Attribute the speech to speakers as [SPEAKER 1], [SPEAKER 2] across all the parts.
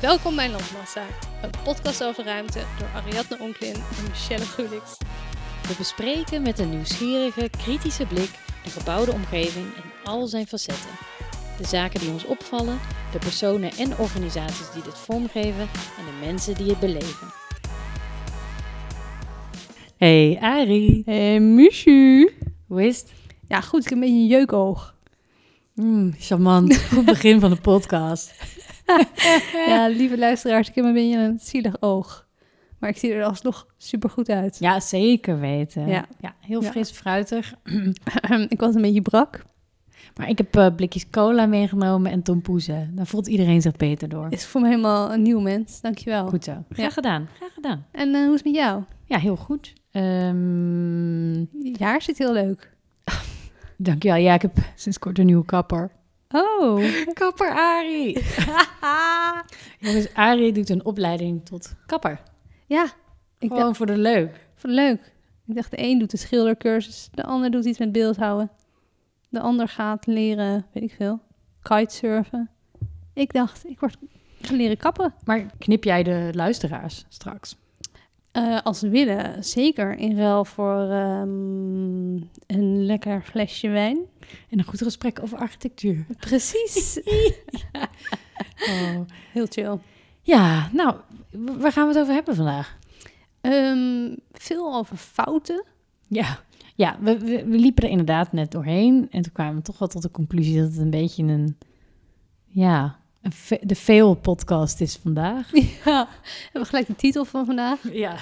[SPEAKER 1] Welkom bij Landmassa, een podcast over ruimte door Ariadne Onklin en Michelle Gulix.
[SPEAKER 2] We bespreken met een nieuwsgierige, kritische blik de gebouwde omgeving in al zijn facetten. De zaken die ons opvallen, de personen en organisaties die dit vormgeven en de mensen die het beleven. Hey Ari,
[SPEAKER 3] Hey, Mushu.
[SPEAKER 2] hoe is het?
[SPEAKER 3] Ja, goed, ik heb een beetje een jeukoog.
[SPEAKER 2] Mm, charmant, goed begin van de podcast.
[SPEAKER 1] Eh.
[SPEAKER 3] Ja, lieve luisteraars, ik heb een beetje een zielig oog. Maar ik zie er alsnog super goed uit.
[SPEAKER 2] Ja, zeker weten.
[SPEAKER 3] Ja.
[SPEAKER 2] heel
[SPEAKER 3] Ja.
[SPEAKER 2] fris, fruitig.
[SPEAKER 3] ik was een beetje brak.
[SPEAKER 2] Maar ik heb eh, blikjes cola meegenomen en tompoezen. Daar voelt iedereen zich beter door.
[SPEAKER 3] Is voor me helemaal een nieuw mens. Dankjewel.
[SPEAKER 2] Goed zo. Graag gedaan, graag gedaan.
[SPEAKER 3] En eh, hoe is het met jou?
[SPEAKER 2] Ja, heel goed. Ehm
[SPEAKER 3] Je haar zit heel leuk.
[SPEAKER 2] Dankjewel. Ja, ik heb sinds kort een nieuwe kapper.
[SPEAKER 3] Oh,
[SPEAKER 2] Kapper Ari. Jongens, Ari doet een opleiding tot kapper.
[SPEAKER 3] ja. Ik
[SPEAKER 2] Gewoon
[SPEAKER 3] dacht,
[SPEAKER 2] voor de leuk.
[SPEAKER 3] vond het leuk. Ik dacht, de een doet de schildercursus, de ander doet iets met beeldhouden. De ander gaat leren, weet ik veel, kitesurfen. Ik dacht, ik word ik ga leren kappen.
[SPEAKER 2] Maar knip jij de luisteraars straks?
[SPEAKER 3] Eh, als ze willen, zeker. In ruil voor ehm, een lekker flesje wijn.
[SPEAKER 2] En een goed gesprek over architectuur.
[SPEAKER 3] Precies.
[SPEAKER 2] Oh.
[SPEAKER 3] Heel chill.
[SPEAKER 2] Ja, nou, w- waar gaan we het over hebben vandaag?
[SPEAKER 3] Ehm, veel over fouten.
[SPEAKER 2] Ja, ja we, we, we liepen er inderdaad net doorheen. En toen kwamen we toch wel tot de conclusie dat het een beetje een... Ja, een ve- de fail-podcast is vandaag.
[SPEAKER 3] Ja. Hebben we gelijk de titel van vandaag.
[SPEAKER 2] Ja,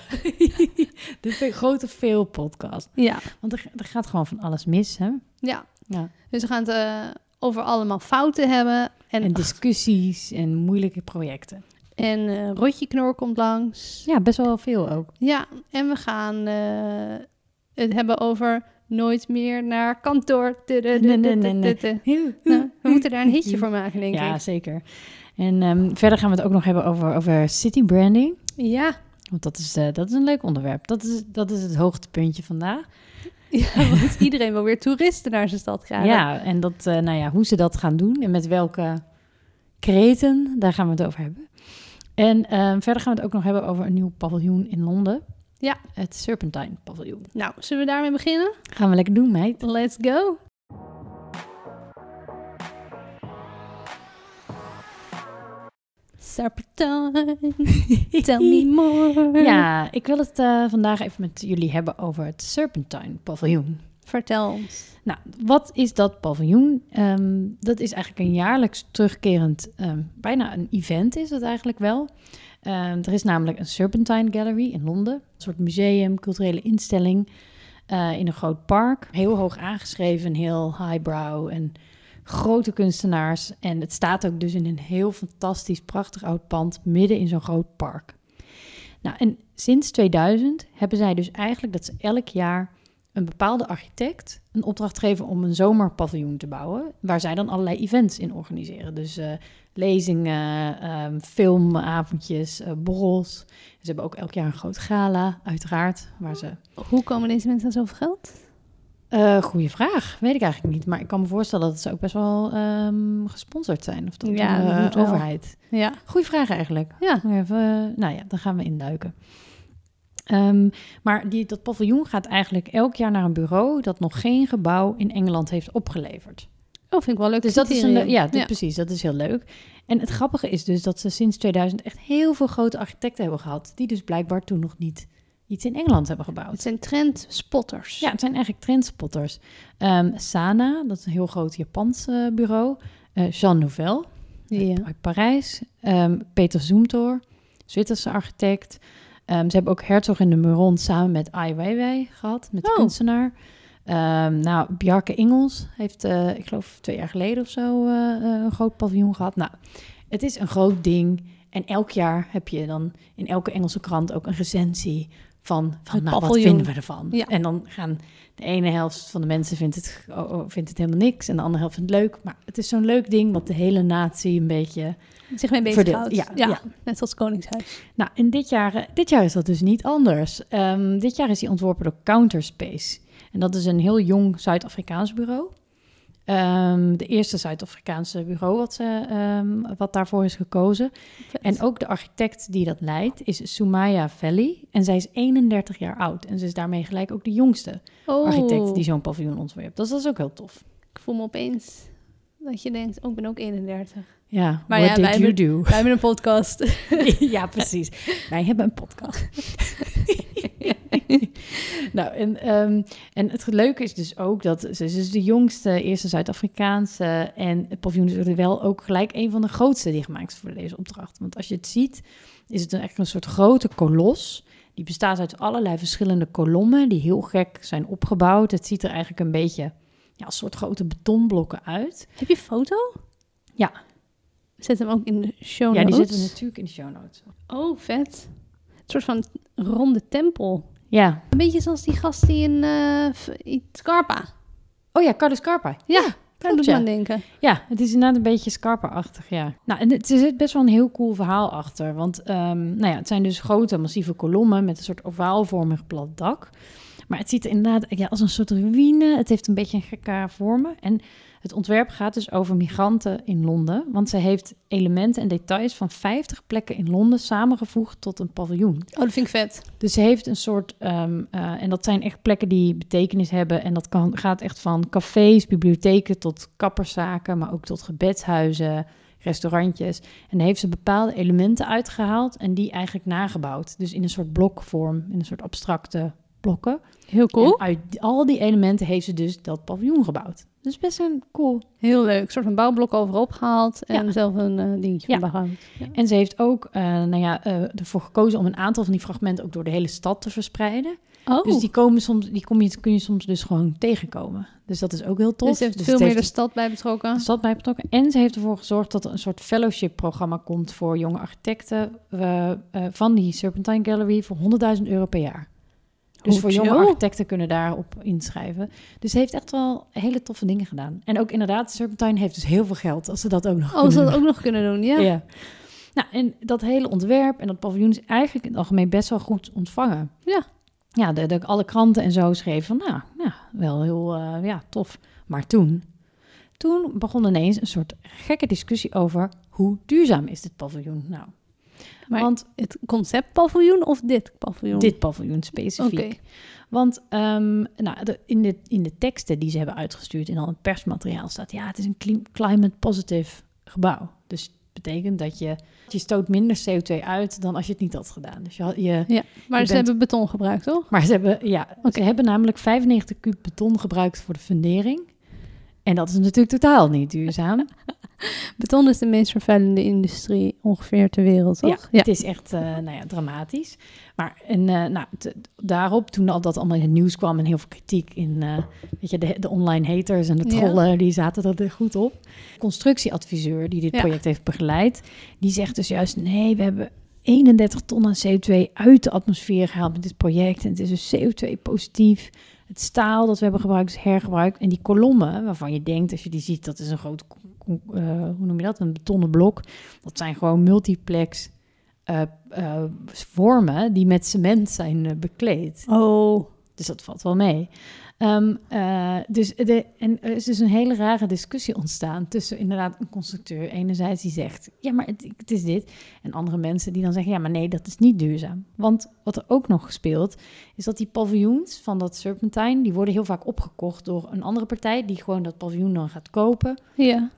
[SPEAKER 2] de ve- grote fail-podcast.
[SPEAKER 3] Ja.
[SPEAKER 2] Want er, er gaat gewoon van alles mis, hè?
[SPEAKER 3] ja.
[SPEAKER 2] Ja.
[SPEAKER 3] Dus we gaan het eh, over allemaal fouten hebben. En,
[SPEAKER 2] En
[SPEAKER 3] en,
[SPEAKER 2] discussies en moeilijke projecten.
[SPEAKER 3] eh, Rotje Knor komt langs.
[SPEAKER 2] Ja, best wel veel ook.
[SPEAKER 3] Ja. En we gaan eh, het hebben over nooit meer naar kantoor.
[SPEAKER 2] nee, nee, nee.
[SPEAKER 3] Nou, we moeten daar een hitje voor maken, denk
[SPEAKER 2] Ja,
[SPEAKER 3] ik.
[SPEAKER 2] zeker. En ehm, verder gaan we het ook nog hebben over, over city branding.
[SPEAKER 3] Ja.
[SPEAKER 2] Want dat is, eh, dat is een leuk onderwerp. Dat is, dat is het hoogtepuntje vandaag.
[SPEAKER 3] Ja, want iedereen wil weer toeristen naar zijn stad
[SPEAKER 2] Ja,
[SPEAKER 3] krijgen.
[SPEAKER 2] en dat, eh, nou ja, hoe ze dat gaan doen en met welke kreten, daar gaan we het over hebben. En ehm, verder gaan we het ook nog hebben over een nieuw paviljoen in Londen.
[SPEAKER 3] Ja.
[SPEAKER 2] Het Serpentine paviljoen.
[SPEAKER 3] Nou, zullen we daarmee beginnen?
[SPEAKER 2] Gaan we lekker doen, meid.
[SPEAKER 3] Let's go! Serpentine, tell me more.
[SPEAKER 2] Ja, ik wil het eh, vandaag even met jullie hebben over het Serpentine paviljoen.
[SPEAKER 3] Vertel ons.
[SPEAKER 2] Nou, wat is dat paviljoen? Ehm, dat is eigenlijk een jaarlijks terugkerend, ehm, bijna een event is het eigenlijk wel. Ehm, er is namelijk een Serpentine Gallery in Londen. Een soort museum, culturele instelling eh, in een groot park. Heel hoog aangeschreven, heel highbrow en grote kunstenaars. En het staat ook dus in een heel fantastisch, prachtig oud pand midden in zo'n groot park. Nou, en sinds 2000 hebben zij dus eigenlijk dat ze elk jaar een bepaalde architect een opdracht geven om een zomerpaviljoen te bouwen, waar zij dan allerlei events in organiseren. Dus eh, lezingen, ehm, filmavondjes, eh, borrels. Ze hebben ook elk jaar een groot gala, uiteraard, waar ze
[SPEAKER 3] Hoe komen deze mensen aan zoveel geld?
[SPEAKER 2] eh goeie vraag. Weet ik eigenlijk niet. Maar ik kan me voorstellen dat ze ook best wel ehm, gesponsord zijn. Of door
[SPEAKER 3] Ja,
[SPEAKER 2] de
[SPEAKER 3] dat
[SPEAKER 2] eh,
[SPEAKER 3] moet wel.
[SPEAKER 2] overheid.
[SPEAKER 3] Ja.
[SPEAKER 2] Goeie vraag eigenlijk.
[SPEAKER 3] Ja.
[SPEAKER 2] Moet Even, eh, nou ja, dan gaan we induiken. Ehm, maar die, dat paviljoen gaat eigenlijk elk jaar naar een bureau... dat nog geen gebouw in Engeland heeft opgeleverd.
[SPEAKER 3] Oh, vind ik wel leuk.
[SPEAKER 2] Dus dat is een, le-
[SPEAKER 3] criterium.
[SPEAKER 2] ja, dat- precies. Dat is heel leuk. En het grappige is dus dat ze sinds 2000 echt heel veel grote architecten hebben gehad... die dus blijkbaar toen nog niet iets in Engeland hebben gebouwd.
[SPEAKER 3] Het zijn trendspotters.
[SPEAKER 2] Ja, het zijn eigenlijk trendspotters. Ehm, Sana, dat is een heel groot Japans eh, bureau. Eh, Jean Nouvel eh,
[SPEAKER 3] Ja.
[SPEAKER 2] uit Parijs. Ehm, Peter Zoemtor, Zwitserse architect. Ehm, ze hebben ook Herzog en de Meuron samen met Ai Weiwei gehad, met de
[SPEAKER 3] Oh.
[SPEAKER 2] kunstenaar. Ehm, nou, Bjarke Ingels heeft, eh, ik geloof twee jaar geleden of zo, eh, eh, een groot paviljoen gehad. Nou, het is een groot ding. En elk jaar heb je dan in elke Engelse krant ook een recensie van, van
[SPEAKER 3] Het
[SPEAKER 2] nou, wat
[SPEAKER 3] paviljoen.
[SPEAKER 2] vinden we ervan?
[SPEAKER 3] Ja.
[SPEAKER 2] En dan gaan de ene helft van de mensen vindt het, oh, oh, vindt het helemaal niks en de andere helft vindt het leuk. Maar het is zo'n leuk ding wat de hele natie een beetje
[SPEAKER 3] Zich mee
[SPEAKER 2] verdeelt.
[SPEAKER 3] bezighoudt.
[SPEAKER 2] Ja, ja.
[SPEAKER 3] Net zoals Koningshuis.
[SPEAKER 2] Nou, en dit jaar, eh, dit jaar is dat dus niet anders. Ehm, dit jaar is die ontworpen door Counterspace. En dat is een heel jong Zuid-Afrikaans bureau. Ehm, de eerste Zuid-Afrikaanse bureau wat, ze, ehm, wat daarvoor is gekozen. En ook de architect die dat leidt is Sumaya Valley. En zij is 31 jaar oud. En ze is daarmee gelijk ook de jongste
[SPEAKER 3] oh,
[SPEAKER 2] architect die zo'n paviljoen ontwerpt. Dus dat is ook heel tof.
[SPEAKER 3] Ik voel me opeens dat je denkt, oh, ik ben ook 31.
[SPEAKER 2] Ja,
[SPEAKER 3] Maar
[SPEAKER 2] what
[SPEAKER 3] ja, wij
[SPEAKER 2] did you do?
[SPEAKER 3] Wij hebben een podcast.
[SPEAKER 2] ja, precies. Wij hebben een podcast. nou, en, ehm, en het leuke is dus ook dat ze ze is dus de jongste, eerste Zuid-Afrikaanse. En het paviljoen is er wel ook gelijk een van de grootste die gemaakt is voor deze opdracht. Want als je het ziet, is het een- echt een soort grote kolos. Die bestaat uit allerlei verschillende kolommen die heel gek zijn opgebouwd. Het ziet er eigenlijk een beetje ja, als soort grote betonblokken uit.
[SPEAKER 3] Heb je een foto?
[SPEAKER 2] Ja.
[SPEAKER 3] Zet hem ook in de show
[SPEAKER 2] Ja, die
[SPEAKER 3] notes.
[SPEAKER 2] zitten we natuurlijk in de show notes.
[SPEAKER 3] Oh, vet. Een soort van ronde tempel.
[SPEAKER 2] Ja.
[SPEAKER 3] Een beetje zoals die gast die in, eh, v- in Scarpa.
[SPEAKER 2] Oh ja, Carlos Carpa.
[SPEAKER 3] Ja, daar
[SPEAKER 2] klopt,
[SPEAKER 3] moet
[SPEAKER 2] ja.
[SPEAKER 3] je aan denken.
[SPEAKER 2] Ja, het is inderdaad een beetje Scarpa-achtig, ja. Nou, en het zit best wel een heel cool verhaal achter. Want ehm, nou ja, het zijn dus grote, massieve kolommen met een soort ovaalvormig plat dak. Maar het ziet er inderdaad ja, als een soort ruïne. Het heeft een beetje een gekke vormen. En het ontwerp gaat dus over migranten in Londen. Want ze heeft elementen en details van 50 plekken in Londen samengevoegd tot een paviljoen.
[SPEAKER 3] Oh, dat vind ik vet.
[SPEAKER 2] Dus ze heeft een soort, ehm, eh, en dat zijn echt plekken die betekenis hebben. En dat kan, gaat echt van cafés, bibliotheken tot kapperszaken, maar ook tot gebedshuizen, restaurantjes. En daar heeft ze bepaalde elementen uitgehaald en die eigenlijk nagebouwd. Dus in een soort blokvorm, in een soort abstracte blokken.
[SPEAKER 3] Heel
[SPEAKER 2] En uit al die elementen heeft ze dus dat paviljoen gebouwd. Dus best een cool
[SPEAKER 3] Heel leuk. Een soort van bouwblok overop gehaald en zelf een eh, dingetje
[SPEAKER 2] Ja.
[SPEAKER 3] van behoud. Ja.
[SPEAKER 2] En ze heeft ook eh, nou ja, eh, ervoor gekozen om een aantal van die fragmenten ook door de hele stad te verspreiden.
[SPEAKER 3] Oh,
[SPEAKER 2] Dus die, komen soms, die kom je, kun je soms dus gewoon tegenkomen. Dus dat is ook heel tof.
[SPEAKER 3] dus ze heeft
[SPEAKER 2] Dus
[SPEAKER 3] veel
[SPEAKER 2] het
[SPEAKER 3] meer
[SPEAKER 2] heeft
[SPEAKER 3] de stad bij betrokken.
[SPEAKER 2] de stad bij betrokken. En ze heeft ervoor gezorgd dat er een soort fellowship-programma komt voor jonge architecten eh, eh, van die Serpentine Gallery voor 100.000 euro per jaar. Dus
[SPEAKER 3] Hoe
[SPEAKER 2] voor jonge
[SPEAKER 3] Oh, chill.
[SPEAKER 2] architecten kunnen daarop inschrijven. Dus ze heeft echt wel hele toffe dingen gedaan. En ook inderdaad, Serpentine heeft dus heel veel geld als ze dat ook nog
[SPEAKER 3] Oh,
[SPEAKER 2] kunnen
[SPEAKER 3] ze
[SPEAKER 2] doen.
[SPEAKER 3] dat ook nog kunnen doen, ja.
[SPEAKER 2] Ja. Nou, en dat hele ontwerp en dat paviljoen is eigenlijk in het algemeen best wel goed ontvangen.
[SPEAKER 3] Ja.
[SPEAKER 2] Ja, de, de- alle kranten en zo schreven van, nou, nou wel heel eh, ja, tof. Maar toen, toen begon ineens een soort gekke discussie over hoe duurzaam is dit paviljoen nou.
[SPEAKER 3] Maar
[SPEAKER 2] Want
[SPEAKER 3] het concept paviljoen of dit paviljoen?
[SPEAKER 2] dit paviljoen
[SPEAKER 3] Oké.
[SPEAKER 2] specifiek. Want ehm, nou, de- in, de, in de teksten die ze hebben uitgestuurd in al het persmateriaal staat, ja, het is een clim- climate positive gebouw. Dus het betekent dat je, je stoot minder CO2 uit dan als je het niet had gedaan. Dus je, had- je,
[SPEAKER 3] Maar
[SPEAKER 2] Je
[SPEAKER 3] ze
[SPEAKER 2] bent-
[SPEAKER 3] hebben beton gebruikt, toch?
[SPEAKER 2] maar ze hebben, ja, ze hebben namelijk 95 kub beton gebruikt voor de fundering. En dat is natuurlijk totaal niet duurzaam.
[SPEAKER 3] Beton is de meest vervuilende industrie ongeveer ter wereld, toch?
[SPEAKER 2] Ja, het is echt eh, nou ja, dramatisch. Maar en, eh, nou, t- daarop, toen al dat allemaal in het nieuws kwam en heel veel kritiek in eh, weet je, de, de online haters en de
[SPEAKER 3] Ja.
[SPEAKER 2] trollen, die zaten er weer goed op. Constructieadviseur die dit
[SPEAKER 3] Ja.
[SPEAKER 2] project heeft begeleid, die zegt dus juist: nee, we hebben 31 ton aan CO2 uit de atmosfeer gehaald met dit project. En het is dus CO2-positief. Het staal dat we hebben gebruikt is hergebruikt. En die kolommen, waarvan je denkt als je die ziet, dat is een groot, eh, hoe noem je dat, een betonnen blok. Dat zijn gewoon multiplex eh, eh, vormen die met cement zijn eh, bekleed.
[SPEAKER 3] Oh,
[SPEAKER 2] Dus dat valt wel mee. Ehm, eh, dus de, en er is dus een hele rare discussie ontstaan tussen inderdaad een constructeur enerzijds die zegt, ja maar het, het is dit. En andere mensen die dan zeggen, ja maar nee, dat is niet duurzaam. Want wat er ook nog speelt, is dat die paviljoens van dat serpentine, die worden heel vaak opgekocht door een andere partij die gewoon dat paviljoen dan gaat kopen.
[SPEAKER 3] ja.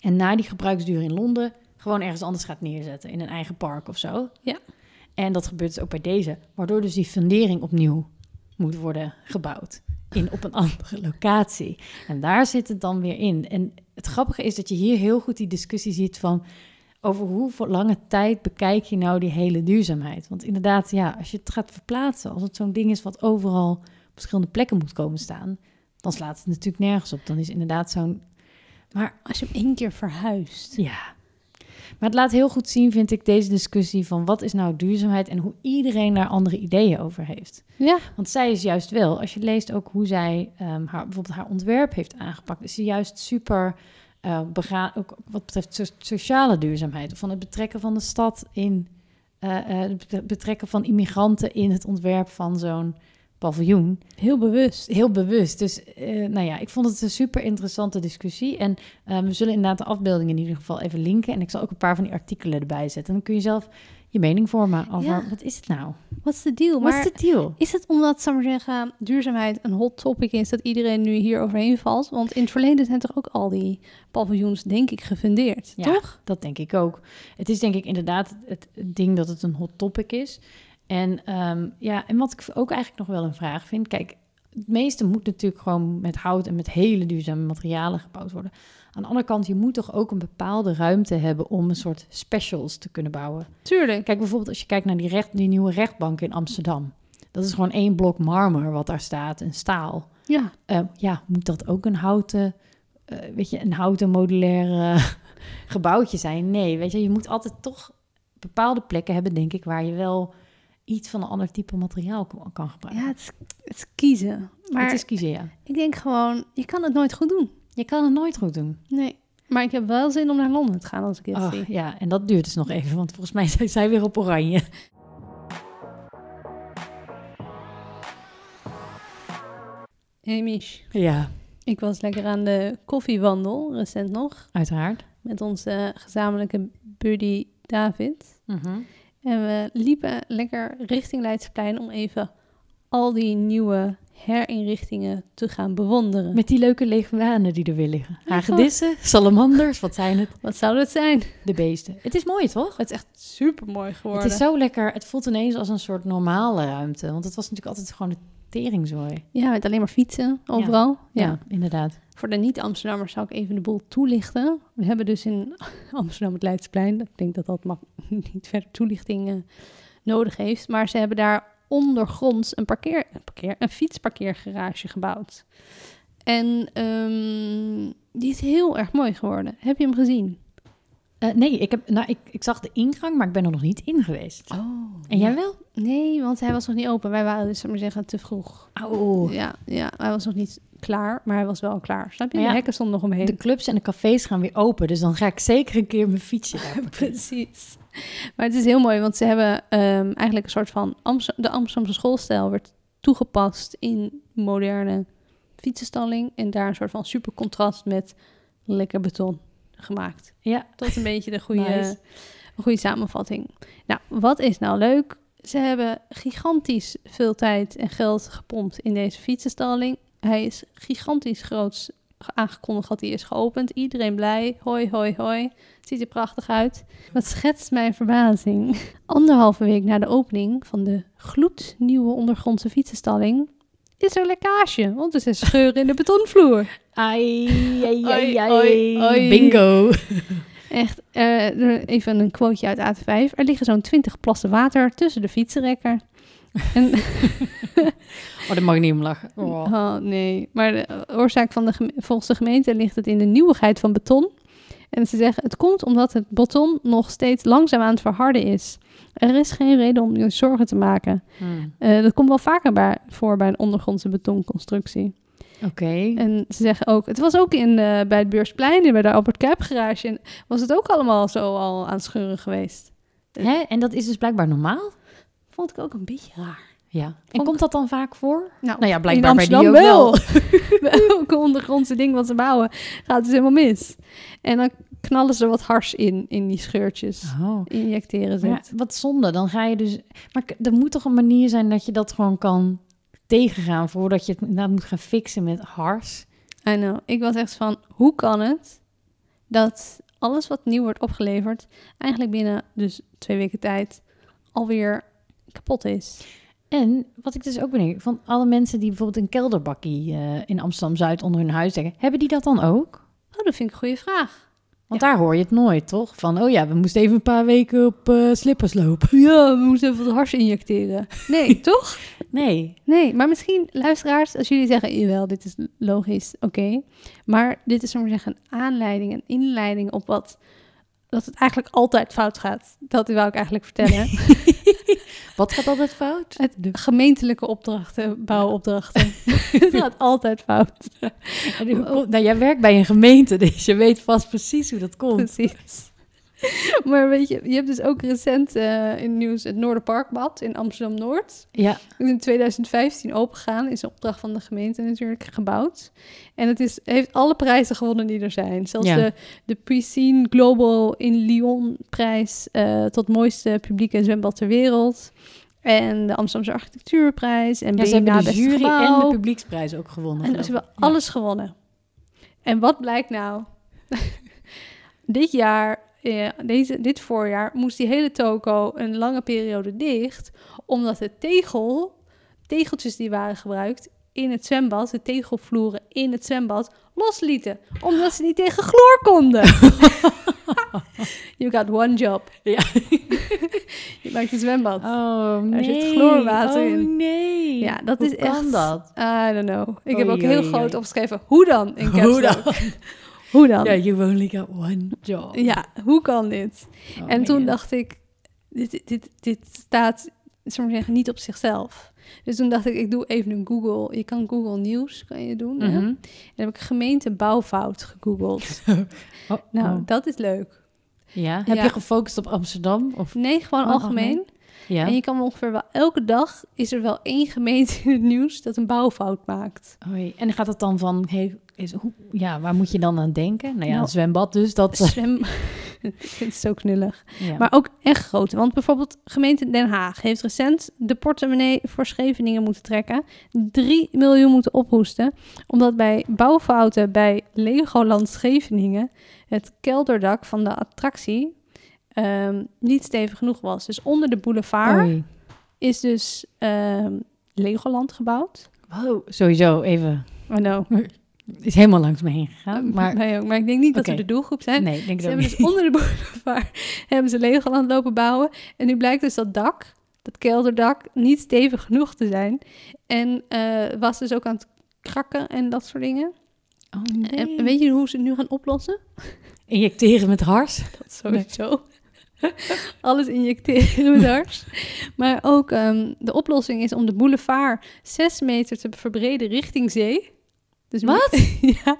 [SPEAKER 2] En na die gebruiksduur in Londen gewoon ergens anders gaat neerzetten. In een eigen park of zo.
[SPEAKER 3] Ja.
[SPEAKER 2] En dat gebeurt dus ook bij deze. Waardoor dus die fundering opnieuw moet worden gebouwd. In, op een andere locatie. En daar zit het dan weer in. En het grappige is dat je hier heel goed die discussie ziet van... over hoe voor lange tijd bekijk je nou die hele duurzaamheid. Want inderdaad, ja, als je het gaat verplaatsen... als het zo'n ding is wat overal op verschillende plekken moet komen staan... dan slaat het natuurlijk nergens op. Dan is inderdaad zo'n
[SPEAKER 3] Als je hem één keer verhuist.
[SPEAKER 2] ja. Maar het laat heel goed zien, vind ik, deze discussie van wat is nou duurzaamheid en hoe iedereen daar andere ideeën over heeft.
[SPEAKER 3] Ja.
[SPEAKER 2] Want zij is juist wel, als je leest ook hoe zij ehm, haar, bijvoorbeeld haar ontwerp heeft aangepakt, is ze juist super eh begaan, ook wat betreft so- sociale duurzaamheid. Of van het betrekken van de stad in, eh, eh, het betre- betrekken van immigranten in het ontwerp van zo'n paviljoen
[SPEAKER 3] Heel bewust.
[SPEAKER 2] heel bewust. Dus eh, nou ja, ik vond het een super interessante discussie. En eh, we zullen inderdaad de afbeeldingen in ieder geval even linken. En ik zal ook een paar van die artikelen erbij zetten. Dan kun je zelf je mening vormen over
[SPEAKER 3] Ja.
[SPEAKER 2] wat is het nou?
[SPEAKER 3] Wat is de deal?
[SPEAKER 2] Wat is
[SPEAKER 3] Maar
[SPEAKER 2] de deal?
[SPEAKER 3] is het omdat, zou ik maar zeggen, duurzaamheid een hot topic is dat iedereen nu hier overheen valt? Want in het verleden zijn toch ook al die paviljoens, denk ik, gefundeerd,
[SPEAKER 2] Ja.
[SPEAKER 3] toch?
[SPEAKER 2] Dat denk ik ook. Het is denk ik inderdaad het, het ding dat het een hot topic is. En ehm, ja, en wat ik ook eigenlijk nog wel een vraag vind. Kijk, het meeste moet natuurlijk gewoon met hout en met hele duurzame materialen gebouwd worden. Aan de andere kant, je moet toch ook een bepaalde ruimte hebben om een soort specials te kunnen bouwen.
[SPEAKER 3] Tuurlijk.
[SPEAKER 2] Kijk bijvoorbeeld als je kijkt naar die, recht, die nieuwe rechtbank in Amsterdam. Dat is gewoon één blok marmer wat daar staat en staal.
[SPEAKER 3] Ja.
[SPEAKER 2] Eh, ja, moet dat ook een houten, eh, weet je, een houten modulair eh, gebouwtje zijn? Nee, weet je, je moet altijd toch bepaalde plekken hebben, denk ik, waar je wel iets van een ander type materiaal ko- kan gebruiken.
[SPEAKER 3] Ja, het is, het is kiezen. Maar
[SPEAKER 2] Het is kiezen, ja.
[SPEAKER 3] ik denk gewoon, je kan het nooit goed doen.
[SPEAKER 2] Je kan het nooit goed doen.
[SPEAKER 3] Nee. Maar ik heb wel zin om naar Londen te gaan als ik dit
[SPEAKER 2] Oh,
[SPEAKER 3] zie.
[SPEAKER 2] ja, en dat duurt dus nog even, want volgens mij zijn zij weer op oranje.
[SPEAKER 3] Hey Mich,
[SPEAKER 2] Ja,
[SPEAKER 3] ik was lekker aan de koffiewandel, recent nog,
[SPEAKER 2] uiteraard.
[SPEAKER 3] met onze gezamenlijke buddy David.
[SPEAKER 2] Mhm.
[SPEAKER 3] En we liepen lekker richting Leidseplein om even al die nieuwe herinrichtingen te gaan bewonderen.
[SPEAKER 2] Met die leuke leguanen die er weer liggen. Hagedissen, salamanders, wat zijn het?
[SPEAKER 3] Wat zou dat zijn?
[SPEAKER 2] De beesten. Het is mooi, toch?
[SPEAKER 3] Het is echt super mooi geworden.
[SPEAKER 2] Het is zo lekker. Het voelt ineens als een soort normale ruimte. Want het was natuurlijk altijd gewoon een teringzooi.
[SPEAKER 3] Ja, met alleen maar fietsen overal. Ja.
[SPEAKER 2] Ja, inderdaad.
[SPEAKER 3] Voor de niet-Amsterdammers zou ik even de boel toelichten. We hebben dus in Amsterdam het Leidseplein. Ik denk dat dat mag, niet verder toelichting eh, nodig heeft. Maar ze hebben daar ondergronds een, parkeer, een, parkeer, een fietsparkeergarage gebouwd. En ehm, die is heel erg mooi geworden. Heb je hem gezien?
[SPEAKER 2] Eh, nee, ik, heb, nou, ik, ik zag de ingang, maar ik ben er nog niet in geweest.
[SPEAKER 3] Oh.
[SPEAKER 2] En jij wel?
[SPEAKER 3] Nee, want hij was nog niet open. Wij waren dus, zou ik maar zeggen, te vroeg.
[SPEAKER 2] Oh.
[SPEAKER 3] Ja, ja, hij was nog niet klaar, maar hij was wel klaar. Snap je?
[SPEAKER 2] Maar ja,
[SPEAKER 3] de hekken stonden nog omheen.
[SPEAKER 2] De clubs en de cafés gaan weer open. Dus dan ga ik zeker een keer mijn fietsje daar parkeren.
[SPEAKER 3] Precies. Maar het is heel mooi, want ze hebben ehm, eigenlijk een soort van... Amst- de Amsterdamse schoolstijl werd toegepast in moderne fietsenstalling. En daar een soort van super contrast met lekker beton gemaakt.
[SPEAKER 2] Ja.
[SPEAKER 3] Dat is een beetje de goede,
[SPEAKER 2] Nice.
[SPEAKER 3] een goede samenvatting. Nou, wat is nou leuk? Ze hebben gigantisch veel tijd en geld gepompt in deze fietsenstalling. Hij is gigantisch groots aangekondigd dat hij is geopend. Iedereen blij. Hoi, hoi, hoi. Het ziet er prachtig uit. Wat schetst mijn verbazing. Anderhalve week na de opening van de gloednieuwe ondergrondse fietsenstalling... is er lekkage, want er zijn scheuren in de betonvloer.
[SPEAKER 2] Ai, ai, ai,
[SPEAKER 3] Oei,
[SPEAKER 2] ai.
[SPEAKER 3] oei, oei.
[SPEAKER 2] Bingo.
[SPEAKER 3] Echt, eh, even een quoteje uit AT5. Er liggen zo'n 20 plassen water tussen de fietsenrekker. En,
[SPEAKER 2] Oh, dat mag ik niet om lachen. Oh.
[SPEAKER 3] oh nee, maar de oorzaak van de geme- volgens de gemeente ligt het in de nieuwigheid van beton. En ze zeggen, het komt omdat het beton nog steeds langzaam aan het verharden is. Er is geen reden om je zorgen te maken.
[SPEAKER 2] Hmm.
[SPEAKER 3] Eh, dat komt wel vaker bij, voor bij een ondergrondse betonconstructie.
[SPEAKER 2] Oké. Eh,
[SPEAKER 3] En ze zeggen ook, het was ook in, eh, bij het Beursplein, en bij de Albert Kuip garage, en was het ook allemaal zo al aan het scheuren geweest.
[SPEAKER 2] Hè? En dat is dus blijkbaar normaal?
[SPEAKER 3] Vond ik ook een beetje raar.
[SPEAKER 2] Ja. En
[SPEAKER 3] Vond-
[SPEAKER 2] komt dat dan vaak voor?
[SPEAKER 3] Nou,
[SPEAKER 2] ja,
[SPEAKER 3] in
[SPEAKER 2] bij die
[SPEAKER 3] Amsterdam
[SPEAKER 2] ook
[SPEAKER 3] wel. Bij elke ondergrondse ding wat ze bouwen, gaat het helemaal mis. En dan knallen ze wat hars in, in die scheurtjes.
[SPEAKER 2] Oh.
[SPEAKER 3] Injecteren ze
[SPEAKER 2] Maar
[SPEAKER 3] het.
[SPEAKER 2] ja, wat zonde, dan ga je dus... Maar k- er moet toch een manier zijn dat je dat gewoon kan tegengaan... voordat je het inderdaad moet gaan fixen met hars.
[SPEAKER 3] I know. Ik was echt van, hoe kan het dat alles wat nieuw wordt opgeleverd... eigenlijk binnen dus twee weken tijd alweer kapot is?
[SPEAKER 2] En wat ik dus ook bedenk, van alle mensen die bijvoorbeeld een kelderbakkie eh, in Amsterdam-Zuid onder hun huis leggen... hebben die dat dan ook?
[SPEAKER 3] Oh, dat vind ik een goede vraag.
[SPEAKER 2] Want daar hoor je het nooit, toch? Van, oh ja, we moesten even een paar weken op eh, slippers lopen.
[SPEAKER 3] Ja, we moeten even wat hars injecteren. Nee, toch?
[SPEAKER 2] Nee.
[SPEAKER 3] Nee, maar misschien, luisteraars, als jullie zeggen, jawel, dit is logisch, oké. Maar dit is, zullen we maar zeggen, een aanleiding, een inleiding op wat... Dat het eigenlijk altijd fout gaat. Dat wou ik eigenlijk vertellen.
[SPEAKER 2] Wat gaat altijd fout?
[SPEAKER 3] Het gemeentelijke opdrachten, bouwopdrachten. het gaat altijd fout. Oh,
[SPEAKER 2] Nou, jij werkt bij een gemeente, dus je weet vast precies hoe dat komt.
[SPEAKER 3] Precies. Maar weet je, je hebt dus ook recent eh, in het nieuws het Noorderparkbad in Amsterdam-Noord.
[SPEAKER 2] Ja,
[SPEAKER 3] Dat is in 2015 opengegaan, is een opdracht van de gemeente natuurlijk gebouwd. En het is, heeft alle prijzen gewonnen die er zijn. Zelfs
[SPEAKER 2] Ja.
[SPEAKER 3] de, de Piscine Global in Lyon prijs eh, tot mooiste publieke zwembad ter wereld. En de Amsterdamse architectuurprijs. En
[SPEAKER 2] ja ze
[SPEAKER 3] BNA
[SPEAKER 2] hebben
[SPEAKER 3] Beste
[SPEAKER 2] de jury en de
[SPEAKER 3] Gebouw.
[SPEAKER 2] publieksprijs ook gewonnen.
[SPEAKER 3] En
[SPEAKER 2] geloof
[SPEAKER 3] ze
[SPEAKER 2] ik.
[SPEAKER 3] hebben
[SPEAKER 2] Ja.
[SPEAKER 3] alles gewonnen. En wat blijkt nou? dit jaar, eh, deze, dit voorjaar, moest die hele toko een lange periode dicht. Omdat de tegel, tegeltjes die waren gebruikt in het zwembad, de tegelvloeren in het zwembad, loslieten. Omdat ze niet tegen chloor konden. you got one job.
[SPEAKER 2] Ja.
[SPEAKER 3] Je maakt een zwembad.
[SPEAKER 2] Oh nee.
[SPEAKER 3] Daar zit chloorwater
[SPEAKER 2] oh,
[SPEAKER 3] in.
[SPEAKER 2] nee.
[SPEAKER 3] Ja, dat
[SPEAKER 2] Hoe
[SPEAKER 3] is echt-
[SPEAKER 2] kan dat?
[SPEAKER 3] I don't know. Ik heb
[SPEAKER 2] Oei,
[SPEAKER 3] ook heel
[SPEAKER 2] oei,
[SPEAKER 3] groot
[SPEAKER 2] oei.
[SPEAKER 3] opgeschreven. Hoe dan? In caps
[SPEAKER 2] Hoe
[SPEAKER 3] lock. Hoe dan?
[SPEAKER 2] Ja, you only got one job.
[SPEAKER 3] Ja, hoe kan dit?
[SPEAKER 2] Oh,
[SPEAKER 3] en
[SPEAKER 2] nee,
[SPEAKER 3] toen
[SPEAKER 2] ja.
[SPEAKER 3] dacht ik, dit, dit, dit staat, zullen we zeggen, niet op zichzelf. Dus toen dacht ik, ik doe even een Google. Je kan Google Nieuws kan je doen. hè? En
[SPEAKER 2] Mhm.
[SPEAKER 3] dan heb ik gemeente bouwfout gegoogeld.
[SPEAKER 2] Oh,
[SPEAKER 3] nou,
[SPEAKER 2] oh.
[SPEAKER 3] dat is leuk.
[SPEAKER 2] Ja, heb
[SPEAKER 3] Ja.
[SPEAKER 2] je gefocust op Amsterdam? Of...
[SPEAKER 3] Nee, gewoon
[SPEAKER 2] Oh,
[SPEAKER 3] algemeen.
[SPEAKER 2] Ja.
[SPEAKER 3] En je kan ongeveer wel elke dag is er wel één gemeente in het nieuws dat een bouwfout maakt.
[SPEAKER 2] Oei, En gaat het dan van, hey, is, hoe, ja, waar moet je dan aan denken? Nou ja,
[SPEAKER 3] Nou,
[SPEAKER 2] een zwembad dus. Dat,
[SPEAKER 3] Zwem. Dit is zo knullig.
[SPEAKER 2] ja.
[SPEAKER 3] Maar ook echt grote. Want bijvoorbeeld gemeente Den Haag heeft recent de portemonnee voor Scheveningen moeten trekken. 3 miljoen moeten ophoesten. Omdat bij bouwfouten bij Legoland Scheveningen het kelderdak van de attractie ehm, niet stevig genoeg was. Dus onder de boulevard
[SPEAKER 2] Oei.
[SPEAKER 3] is dus ehm, Legoland gebouwd.
[SPEAKER 2] Wow, sowieso even.
[SPEAKER 3] Oh no.
[SPEAKER 2] Is helemaal langs me heen gegaan. Maar
[SPEAKER 3] Nee, ook, maar ik denk niet dat
[SPEAKER 2] Oké.
[SPEAKER 3] we de doelgroep zijn.
[SPEAKER 2] nee, ik denk
[SPEAKER 3] Ze
[SPEAKER 2] dat
[SPEAKER 3] hebben dus onder de boulevard hebben ze Legoland lopen bouwen. En nu blijkt dus dat dak, dat kelderdak, niet stevig genoeg te zijn. En eh, was dus ook aan het krakken en dat soort dingen.
[SPEAKER 2] Oh,
[SPEAKER 3] En,
[SPEAKER 2] nee.
[SPEAKER 3] en Eh, weet je hoe ze het nu gaan oplossen?
[SPEAKER 2] Injecteren met hars.
[SPEAKER 3] Dat sowieso. Alles injecteren met hars. Maar ook ehm, de oplossing is om de boulevard 6 meter te verbreden richting zee. Dus Wat? ja.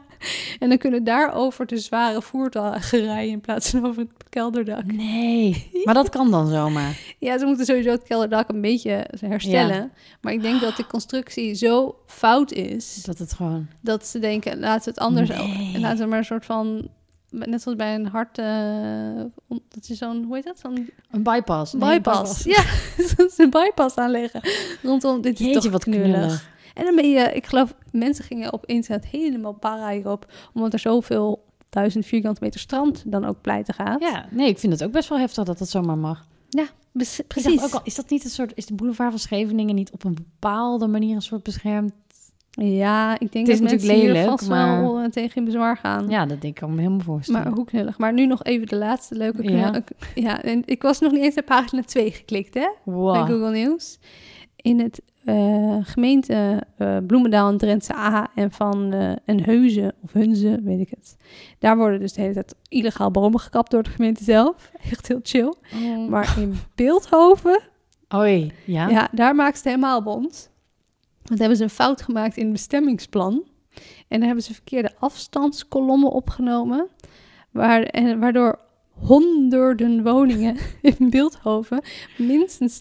[SPEAKER 3] En dan kunnen daarover de zware voertuigen rijden in plaats van over het kelderdak.
[SPEAKER 2] Nee, maar dat kan dan zomaar.
[SPEAKER 3] Ja, ze moeten sowieso het kelderdak een beetje herstellen. Maar ik denk dat de constructie zo fout is
[SPEAKER 2] Dat het gewoon...
[SPEAKER 3] dat ze denken: laten we het anders.
[SPEAKER 2] Nee.
[SPEAKER 3] Laten we maar een soort van. Net zoals bij een hart. eh, on- dat is zo'n. Hoe heet dat? Zo'n
[SPEAKER 2] Een bypass. Nee,
[SPEAKER 3] bypass. Ja, dat ze een bypass aanleggen. Rondom. Dit is
[SPEAKER 2] Jeetje,
[SPEAKER 3] toch
[SPEAKER 2] wat
[SPEAKER 3] knullig.
[SPEAKER 2] knullig.
[SPEAKER 3] En dan ben je. Ik geloof, mensen gingen op internet helemaal para hierop. Omdat er zoveel duizend vierkante meter strand dan ook pleiten gaat.
[SPEAKER 2] Ja, nee, ik vind het ook best wel heftig dat dat zomaar mag.
[SPEAKER 3] Bes-
[SPEAKER 2] Ik
[SPEAKER 3] precies.
[SPEAKER 2] dacht ook al, is dat niet een soort... Is de boulevard van Scheveningen niet op een bepaalde manier een soort beschermd...
[SPEAKER 3] Ja, ik denk
[SPEAKER 2] Het is
[SPEAKER 3] dat
[SPEAKER 2] natuurlijk
[SPEAKER 3] mensen hier
[SPEAKER 2] lelijk,
[SPEAKER 3] vast
[SPEAKER 2] maar-
[SPEAKER 3] wel eh, tegen in bezwaar gaan.
[SPEAKER 2] Ja, dat denk ik kan me helemaal voorstellen.
[SPEAKER 3] Maar hoe knullig. Maar nu nog even de laatste leuke knul.
[SPEAKER 2] Ja.
[SPEAKER 3] Ja, en ik was nog niet eens naar pagina 2 geklikt, hè? Bij
[SPEAKER 2] wow.
[SPEAKER 3] Google News. In het eh, gemeente eh, Bloemendaal en Drentse A en van eh een Heuze of Hunze, weet ik het. Daar worden dus de hele tijd illegaal bomen gekapt door de gemeente zelf. Echt heel chill.
[SPEAKER 2] Oh.
[SPEAKER 3] Maar in Beeldhoven
[SPEAKER 2] Oei, ja?
[SPEAKER 3] ja, daar maakt ze het helemaal bond. Want hebben ze een fout gemaakt in het bestemmingsplan. En daar hebben ze verkeerde afstandskolommen opgenomen. Waar, en, waardoor honderden woningen in Beeldhoven minstens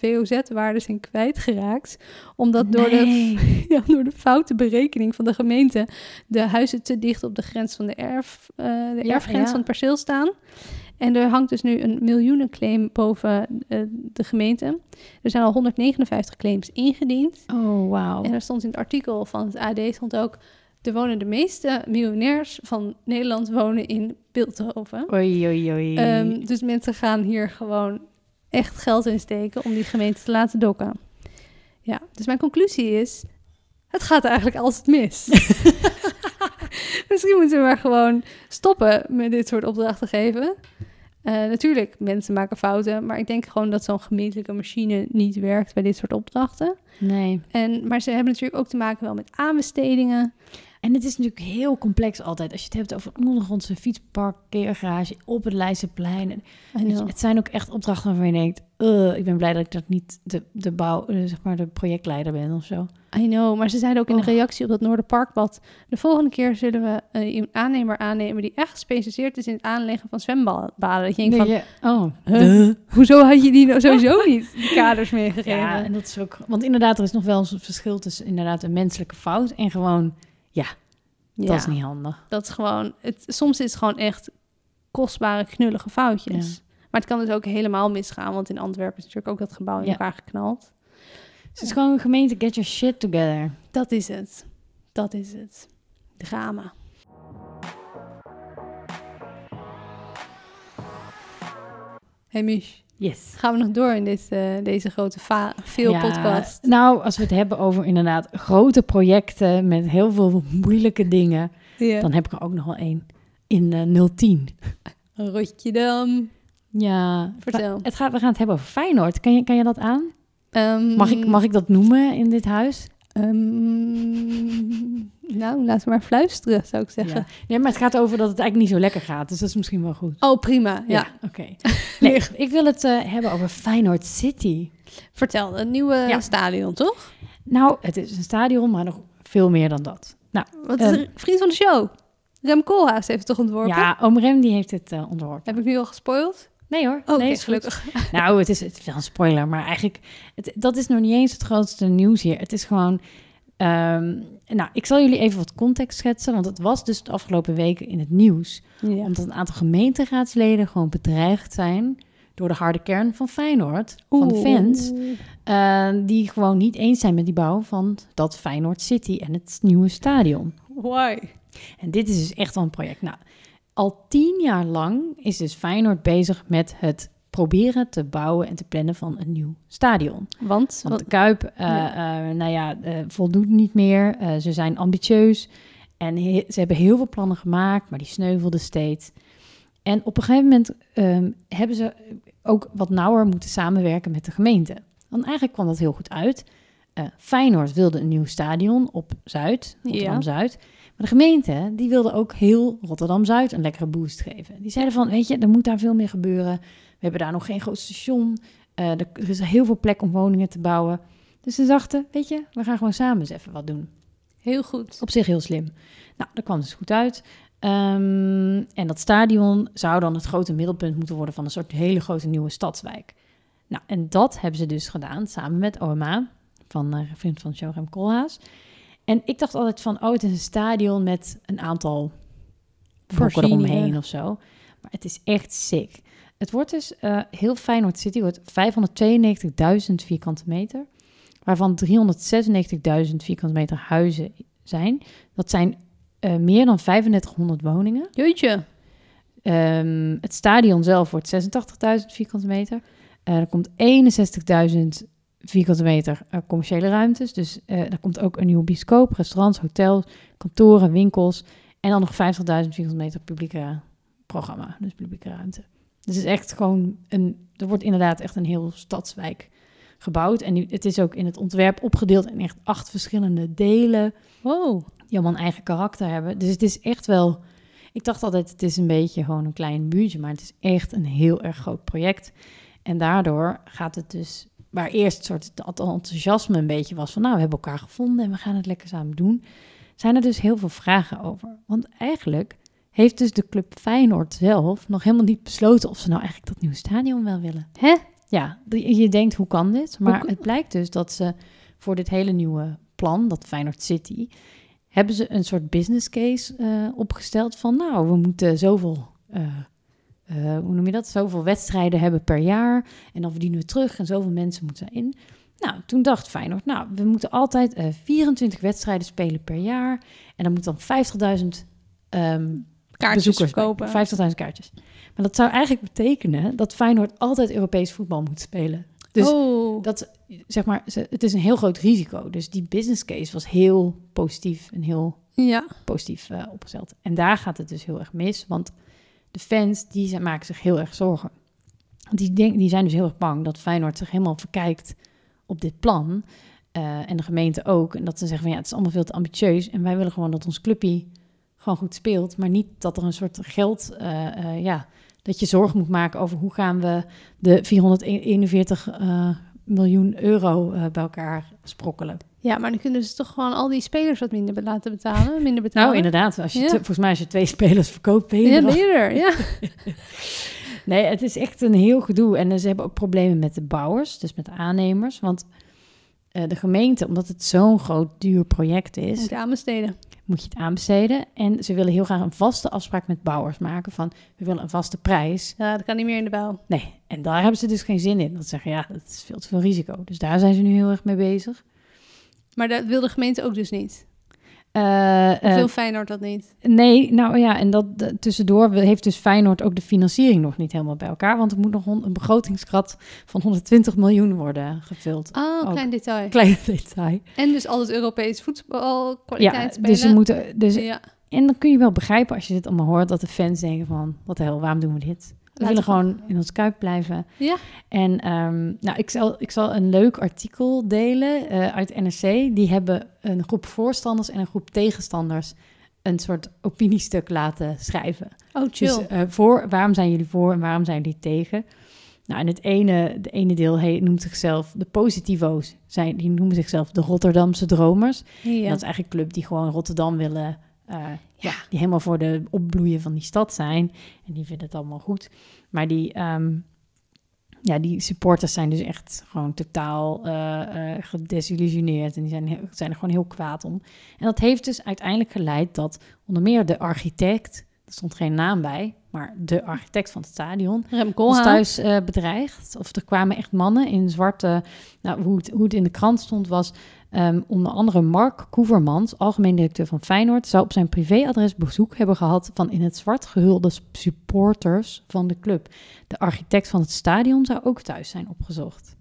[SPEAKER 3] 10% WOZ-waarde zijn kwijtgeraakt. Omdat door, de,
[SPEAKER 2] Nee.
[SPEAKER 3] ja, door de foute berekening van de gemeente de huizen te dicht op de grens van de, erf, eh, de
[SPEAKER 2] Ja,
[SPEAKER 3] erfgrens
[SPEAKER 2] ja.
[SPEAKER 3] van het perceel staan. En er hangt dus nu een miljoenenclaim boven eh, de gemeente. Er zijn al 159 claims ingediend.
[SPEAKER 2] Oh, wauw.
[SPEAKER 3] En er stond in het artikel van het AD stond ook... er wonen de meeste miljonairs van Nederland wonen in Beeldhoven.
[SPEAKER 2] Oei, oei, oei.
[SPEAKER 3] Ehm, dus mensen gaan hier gewoon echt geld in steken om die gemeente te laten dokken. Ja, dus mijn conclusie is, het gaat eigenlijk altijd mis. Misschien moeten we maar gewoon stoppen met dit soort opdrachten geven. Eh, natuurlijk, mensen maken fouten, maar ik denk gewoon dat zo'n gemeentelijke machine niet werkt bij dit soort opdrachten.
[SPEAKER 2] nee.
[SPEAKER 3] En, maar ze hebben natuurlijk ook te maken wel met aanbestedingen.
[SPEAKER 2] En het is natuurlijk heel complex altijd. Als je het hebt over een ondergrondse fietspark, parkeergarage, op het Leidseplein. En
[SPEAKER 3] I
[SPEAKER 2] weet je,
[SPEAKER 3] know.
[SPEAKER 2] Het zijn ook echt opdrachten waarvan je denkt... "Ugh, ik ben blij dat ik dat niet de, de, bouw, eh, zeg maar de projectleider ben of zo.
[SPEAKER 3] I know, maar ze zeiden ook in
[SPEAKER 2] Oh.
[SPEAKER 3] de reactie op dat Noorderparkbad... de volgende keer zullen we eh, een aannemer aannemen... die echt gespecialiseerd is in het aanleggen van zwembaden. Dat je denkt
[SPEAKER 2] Nee,
[SPEAKER 3] van,
[SPEAKER 2] je- oh,
[SPEAKER 3] Huh? hoezo had je die nou sowieso niet die kaders meegegeven?
[SPEAKER 2] Ja, en dat is ook... Want inderdaad, er is nog wel eens een verschil tussen inderdaad een menselijke fout... en gewoon,
[SPEAKER 3] Ja,
[SPEAKER 2] dat is niet handig.
[SPEAKER 3] dat is gewoon... Het, soms is het gewoon echt kostbare, knullige foutjes. Maar het kan dus ook helemaal misgaan... want in Antwerpen is natuurlijk ook dat gebouw in
[SPEAKER 2] Ja.
[SPEAKER 3] elkaar geknald.
[SPEAKER 2] Dus het is gewoon een gemeente, get your shit together.
[SPEAKER 3] Dat is het. Dat is het. Drama. Hey Mich.
[SPEAKER 2] Yes.
[SPEAKER 3] Gaan we nog door in dit, eh, deze grote va- veel
[SPEAKER 2] Ja,
[SPEAKER 3] podcast?
[SPEAKER 2] Nou, als we het hebben over inderdaad grote projecten met heel veel moeilijke dingen,
[SPEAKER 3] Ja.
[SPEAKER 2] dan heb ik er ook nog wel één in eh, 010.
[SPEAKER 3] Rotterdam.
[SPEAKER 2] Ja,
[SPEAKER 3] Vertel.
[SPEAKER 2] Fa- Het gaat, we gaan het hebben over Feyenoord. Kan je, kan je dat aan?
[SPEAKER 3] Ehm,
[SPEAKER 2] Mag ik, mag ik dat noemen in dit huis?
[SPEAKER 3] ehm, nou, laten we maar fluisteren, zou ik zeggen.
[SPEAKER 2] Ja. Nee, maar het gaat over dat het eigenlijk niet zo lekker gaat. Dus dat is misschien wel goed.
[SPEAKER 3] Oh, prima. Ja.
[SPEAKER 2] Oké. Nee, ik wil het eh, hebben over Feyenoord City.
[SPEAKER 3] Vertel, een nieuwe
[SPEAKER 2] Ja.
[SPEAKER 3] stadion, toch?
[SPEAKER 2] Nou, het is een stadion, maar nog veel meer dan dat. Nou,
[SPEAKER 3] Wat is
[SPEAKER 2] Ehm.
[SPEAKER 3] er- vriend van de show. Rem Koolhaas heeft het toch ontworpen?
[SPEAKER 2] ja, oom Rem die heeft het eh, onderworpen.
[SPEAKER 3] Heb ik nu al gespoild?
[SPEAKER 2] Nee hoor.
[SPEAKER 3] Oh, Oké,
[SPEAKER 2] nee, is goed.
[SPEAKER 3] gelukkig.
[SPEAKER 2] Nou, het is, het is wel een spoiler, maar eigenlijk, het, dat is nog niet eens het grootste nieuws hier. Het is gewoon. ehm, nou, ik zal jullie even wat context schetsen, want het was dus de afgelopen weken in het nieuws.
[SPEAKER 3] Ja.
[SPEAKER 2] Omdat een aantal gemeenteraadsleden gewoon bedreigd zijn door de harde kern van Feyenoord, van de fans. eh, die gewoon niet eens zijn met die bouw van dat Feyenoord City en het nieuwe stadion.
[SPEAKER 3] Why?
[SPEAKER 2] En dit is dus echt wel een project. Nou, al tien jaar lang is dus Feyenoord bezig met het proberen te bouwen en te plannen van een nieuw stadion.
[SPEAKER 3] Want,
[SPEAKER 2] Want
[SPEAKER 3] wat-
[SPEAKER 2] de Kuip, eh, eh, nou ja, eh, voldoet niet meer. Eh, ze zijn ambitieus en he- ze hebben heel veel plannen gemaakt, maar die sneuvelden steeds. En op een gegeven moment ehm, hebben ze ook wat nauwer moeten samenwerken met de gemeente. Want eigenlijk kwam dat heel goed uit. Eh, Feyenoord wilde een nieuw stadion op Zuid,
[SPEAKER 3] Ja.
[SPEAKER 2] Rotterdam-Zuid. Maar de gemeente, die wilde ook heel Rotterdam-Zuid een lekkere boost geven. Die zeiden van, weet je, er moet daar veel meer gebeuren. We hebben daar nog geen groot station. Eh, er er is heel veel plek om woningen te bouwen. Dus ze dachten, weet je, we gaan gewoon samen eens even wat doen.
[SPEAKER 3] heel goed.
[SPEAKER 2] Op zich heel slim. Nou, dat kwam dus goed uit. Ehm, en dat stadion zou dan het grote middelpunt moeten worden van een soort hele grote nieuwe stadswijk. Nou, en dat hebben ze dus gedaan samen met OMA van eh, een vriend van Joram Koolhaas. En ik dacht altijd van, oh, het is een stadion met een aantal blokken
[SPEAKER 3] Voorzieningen.
[SPEAKER 2] eromheen of zo. Maar het is echt sick. Het wordt dus eh, heel Feyenoord City wordt 592.000 vierkante meter, waarvan 396.000 vierkante meter huizen zijn. Dat zijn eh, meer dan 3500 woningen.
[SPEAKER 3] Jeetje.
[SPEAKER 2] Ehm, het stadion zelf wordt 86.000 vierkante meter. Eh, er komt 61.000 vierkante meter eh, commerciële ruimtes. Dus eh er komt ook een nieuwe bioscoop, restaurants, hotels, kantoren, winkels. En dan nog 50.000 vierkante meter publieke programma, dus publieke ruimte. Dus het is echt gewoon een. Er wordt inderdaad echt een heel stadswijk gebouwd. En nu, het is ook in het ontwerp opgedeeld in echt acht verschillende delen
[SPEAKER 3] Wow.
[SPEAKER 2] die allemaal een eigen karakter hebben. Dus het is echt wel. Ik dacht altijd, het is een beetje gewoon een klein buurtje, maar het is echt een heel erg groot project. En daardoor gaat het dus, waar eerst soort dat enthousiasme een beetje was van, nou, we hebben elkaar gevonden en we gaan het lekker samen doen, zijn er dus heel veel vragen over. Want eigenlijk heeft dus de club Feyenoord zelf nog helemaal niet besloten of ze nou eigenlijk dat nieuwe stadion wel willen.
[SPEAKER 3] Hè?
[SPEAKER 2] Ja, je je denkt hoe kan dit? Maar
[SPEAKER 3] kan-
[SPEAKER 2] het blijkt dus dat ze voor dit hele nieuwe plan, dat Feyenoord City, hebben ze een soort business case eh, opgesteld van nou, we moeten zoveel, eh, eh, hoe noem je dat, zoveel wedstrijden hebben per jaar en dan verdienen we terug en zoveel mensen moeten in. Nou, toen dacht Feyenoord, nou, we moeten altijd eh, 24 wedstrijden spelen per jaar en dan moet dan 50.000 ehm
[SPEAKER 3] Kaartjes
[SPEAKER 2] bezoekers
[SPEAKER 3] verkopen.
[SPEAKER 2] bij- 50.000 kaartjes. Maar dat zou eigenlijk betekenen dat Feyenoord altijd Europees voetbal moet spelen. Dus
[SPEAKER 3] oh.
[SPEAKER 2] Dat, zeg maar, ze- het is een heel groot risico. Dus die business case was heel positief en heel
[SPEAKER 3] Ja.
[SPEAKER 2] positief eh, opgesteld. En daar gaat het dus heel erg mis, want de fans die zijn- maken zich heel erg zorgen. Want die, denk, die zijn dus heel erg bang dat Feyenoord zich helemaal verkijkt op dit plan. eh, en de gemeente ook. En dat ze zeggen van ja, het is allemaal veel te ambitieus. En wij willen gewoon dat ons clubje gewoon goed speelt. Maar niet dat er een soort geld, eh, eh, ja, dat je zorg moet maken over hoe gaan we de 441 eh, miljoen euro eh, bij elkaar sprokkelen.
[SPEAKER 3] Ja, maar dan kunnen ze toch gewoon al die spelers wat minder be- laten betalen. Minder
[SPEAKER 2] Nou,
[SPEAKER 3] betalen.
[SPEAKER 2] inderdaad. Als je
[SPEAKER 3] Ja.
[SPEAKER 2] te- volgens mij als je twee spelers verkoopt, ben je
[SPEAKER 3] Ja,
[SPEAKER 2] er al.
[SPEAKER 3] ben je er, ja.
[SPEAKER 2] Nee, het is echt een heel gedoe. En eh, ze hebben ook problemen met de bouwers, dus met de aannemers. Want eh, de gemeente, omdat het zo'n groot duur project is,
[SPEAKER 3] Moet aanbesteden.
[SPEAKER 2] moet je het aanbesteden. En ze willen heel graag een vaste afspraak met bouwers maken van, we willen een vaste prijs.
[SPEAKER 3] Ja, dat kan niet meer in de bouw.
[SPEAKER 2] Nee, en daar hebben ze dus geen zin in. Dat ze zeggen, ja, dat is veel te veel risico. Dus daar zijn ze nu heel erg mee bezig.
[SPEAKER 3] Maar dat wil de gemeente ook dus niet.
[SPEAKER 2] Eh, eh,
[SPEAKER 3] Veel Feyenoord dat niet.
[SPEAKER 2] Nee, nou ja, en dat eh, tussendoor heeft dus Feyenoord ook de financiering nog niet helemaal bij elkaar. Want er moet nog hon- een begrotingskrat van 120 miljoen worden gevuld.
[SPEAKER 3] Oh,
[SPEAKER 2] Ook.
[SPEAKER 3] klein detail.
[SPEAKER 2] Klein detail.
[SPEAKER 3] En dus al het Europees voetbal,
[SPEAKER 2] Ja,
[SPEAKER 3] kwaliteit
[SPEAKER 2] dus ze
[SPEAKER 3] spelen.
[SPEAKER 2] moeten. Dus,
[SPEAKER 3] ja,
[SPEAKER 2] en dan kun je wel begrijpen als je dit allemaal hoort, dat de fans denken van wat de hel, waarom doen we dit? We
[SPEAKER 3] Laten
[SPEAKER 2] willen
[SPEAKER 3] we-
[SPEAKER 2] gewoon in ons kuip blijven.
[SPEAKER 3] Ja.
[SPEAKER 2] En ehm, nou, ik zal, ik zal een leuk artikel delen eh, uit NRC. Die hebben een groep voorstanders en een groep tegenstanders een soort opiniestuk laten schrijven.
[SPEAKER 3] oh
[SPEAKER 2] Dus
[SPEAKER 3] chill.
[SPEAKER 2] eh, voor, waarom zijn jullie voor en waarom zijn jullie tegen? Nou, en het ene, de ene deel heet, noemt zichzelf de positivo's. Zijn, die noemen zichzelf de Rotterdamse dromers. En
[SPEAKER 3] eh, ja.
[SPEAKER 2] Dat is eigenlijk een club die gewoon Rotterdam willen. eh, ja.
[SPEAKER 3] Ja.
[SPEAKER 2] die helemaal voor de opbloeien van die stad zijn. En die vinden het allemaal goed. Maar die, ehm, ja, die supporters zijn dus echt gewoon totaal eh, eh, gedesillusioneerd. En die zijn, heel- zijn er gewoon heel kwaad om. En dat heeft dus uiteindelijk geleid dat onder meer de architect... Er stond geen naam bij, maar de architect van het stadion
[SPEAKER 3] Rem
[SPEAKER 2] ons
[SPEAKER 3] Koolhaas.
[SPEAKER 2] thuis eh, bedreigd. Of er kwamen echt mannen in zwarte. Nou, hoe, het, hoe het in de krant stond was. ehm, onder andere Mark Koevermans, algemeen directeur van Feyenoord, zou op zijn privéadres bezoek hebben gehad van in het zwart gehulde s- supporters van de club. De architect van het stadion zou ook thuis zijn opgezocht.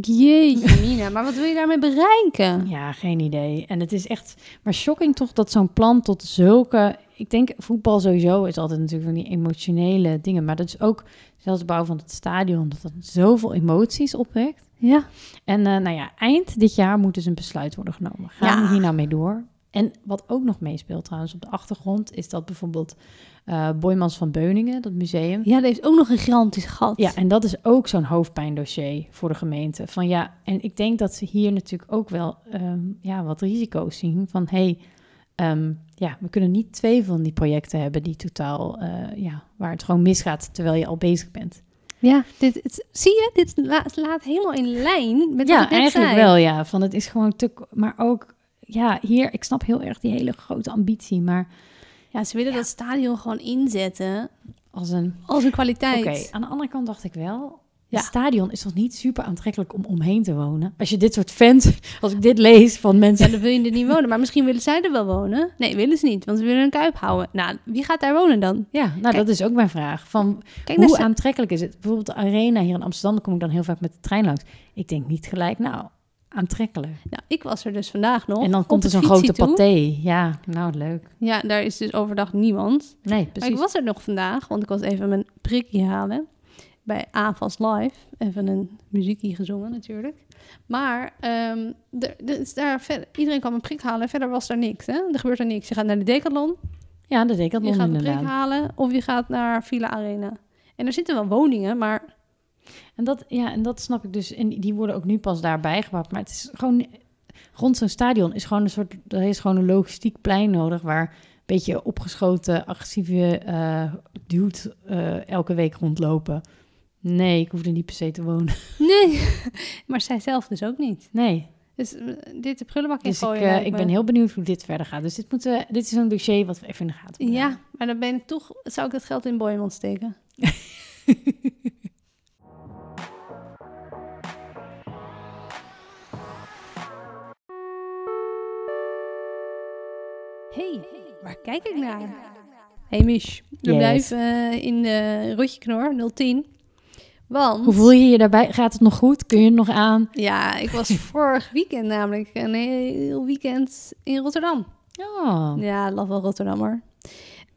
[SPEAKER 3] Jeetje mina, maar wat wil je daarmee bereiken?
[SPEAKER 2] Ja, geen idee. En het is echt, maar shocking toch dat zo'n plan tot zulke. Ik denk voetbal sowieso is altijd natuurlijk van die emotionele dingen, maar dat is ook zelfs de bouw van het stadion dat dat zoveel emoties opwekt.
[SPEAKER 3] Ja,
[SPEAKER 2] En eh, nou ja, eind dit jaar moet dus een besluit worden genomen. Gaan
[SPEAKER 3] Ja.
[SPEAKER 2] we hier nou mee door? En wat ook nog meespeelt trouwens op de achtergrond... is dat bijvoorbeeld eh Boymans van Beuningen, dat museum...
[SPEAKER 3] ja dat heeft ook nog een gigantisch gat.
[SPEAKER 2] Ja, en dat is ook zo'n hoofdpijndossier voor de gemeente. Van ja, en ik denk dat ze hier natuurlijk ook wel ehm, ja, wat risico's zien. Van hé, hey, ehm, ja, we kunnen niet twee van die projecten hebben die totaal, eh, ja, waar het gewoon misgaat terwijl je al bezig bent.
[SPEAKER 3] Ja, dit, het- zie je? Dit la- laat helemaal in lijn met wat
[SPEAKER 2] ja,
[SPEAKER 3] ik net
[SPEAKER 2] eigenlijk
[SPEAKER 3] zei.
[SPEAKER 2] wel, ja. Van het is gewoon te... k- Maar ook, ja, hier, ik snap heel erg die hele grote ambitie, maar
[SPEAKER 3] Ja, ze willen dat stadion gewoon inzetten
[SPEAKER 2] als een...
[SPEAKER 3] als een
[SPEAKER 2] Oké,
[SPEAKER 3] kwaliteit.
[SPEAKER 2] aan de andere kant dacht ik wel...
[SPEAKER 3] Ja.
[SPEAKER 2] Het stadion is toch niet super aantrekkelijk om omheen te wonen? Als je dit soort fans, als ik dit lees van mensen...
[SPEAKER 3] Ja, dan wil je er niet wonen. Maar misschien willen zij er wel wonen. Nee, willen ze niet, want ze willen een kuip houden. Nou, wie gaat daar wonen dan?
[SPEAKER 2] Ja, nou dat is ook mijn vraag. Van,
[SPEAKER 3] Kijk naar
[SPEAKER 2] hoe e-
[SPEAKER 3] Sa-
[SPEAKER 2] aantrekkelijk is het? Bijvoorbeeld de arena hier in Amsterdam, daar kom ik dan heel vaak met de trein langs. Ik denk niet gelijk, nou, aantrekkelijk.
[SPEAKER 3] Nou, ik was er dus vandaag nog.
[SPEAKER 2] en dan
[SPEAKER 3] op
[SPEAKER 2] komt
[SPEAKER 3] de
[SPEAKER 2] er zo'n
[SPEAKER 3] fietsie
[SPEAKER 2] grote
[SPEAKER 3] toe.
[SPEAKER 2] paté. Ja, nou leuk.
[SPEAKER 3] Ja, daar is dus overdag niemand.
[SPEAKER 2] Nee,
[SPEAKER 3] Maar
[SPEAKER 2] precies.
[SPEAKER 3] ik was er nog vandaag, want ik was even mijn prikje halen bij AFAS Live. Even een muziekje gezongen natuurlijk. Maar ehm, er- er is daar verder, iedereen kwam een prik halen en verder was daar niks. Hè? Er gebeurt er niks. Je gaat naar de Decathlon,
[SPEAKER 2] Ja, dat deed ik dat
[SPEAKER 3] je
[SPEAKER 2] nog
[SPEAKER 3] gaat een prik
[SPEAKER 2] inderdaad.
[SPEAKER 3] halen of je gaat naar Villa Arena. En er zitten wel woningen, maar
[SPEAKER 2] En dat, ja, en dat snap ik dus. En die- die worden ook nu pas daarbij gebouwd. Maar het is gewoon rond zo'n stadion is gewoon een soort, er is gewoon een logistiek plein nodig waar een beetje opgeschoten, agressieve eh dudes eh, elke week rondlopen. Nee, ik hoef er niet per se te wonen.
[SPEAKER 3] nee, maar zij zelf dus ook niet.
[SPEAKER 2] Nee,
[SPEAKER 3] Dus eh, dit de prullenbak in
[SPEAKER 2] dus ik,
[SPEAKER 3] gooien.
[SPEAKER 2] eh,
[SPEAKER 3] lijkt
[SPEAKER 2] ik
[SPEAKER 3] me.
[SPEAKER 2] ben heel benieuwd hoe dit verder gaat. Dus dit, moeten, we- dit is een dossier wat we even in de gaten moeten
[SPEAKER 3] Ja, maar dan ben ik toch, zou ik dat geld in Boymond steken? hey, waar kijk ik naar? Hey Mish, we
[SPEAKER 2] Yes.
[SPEAKER 3] blijven eh, in de rotje knor 010. Want,
[SPEAKER 2] houden. Hoe voel je je daarbij? Gaat het nog goed? Kun je het nog aan?
[SPEAKER 3] ja, ik was vorig weekend namelijk een heel weekend in Rotterdam.
[SPEAKER 2] Oh,
[SPEAKER 3] Ja, love wel Rotterdammer.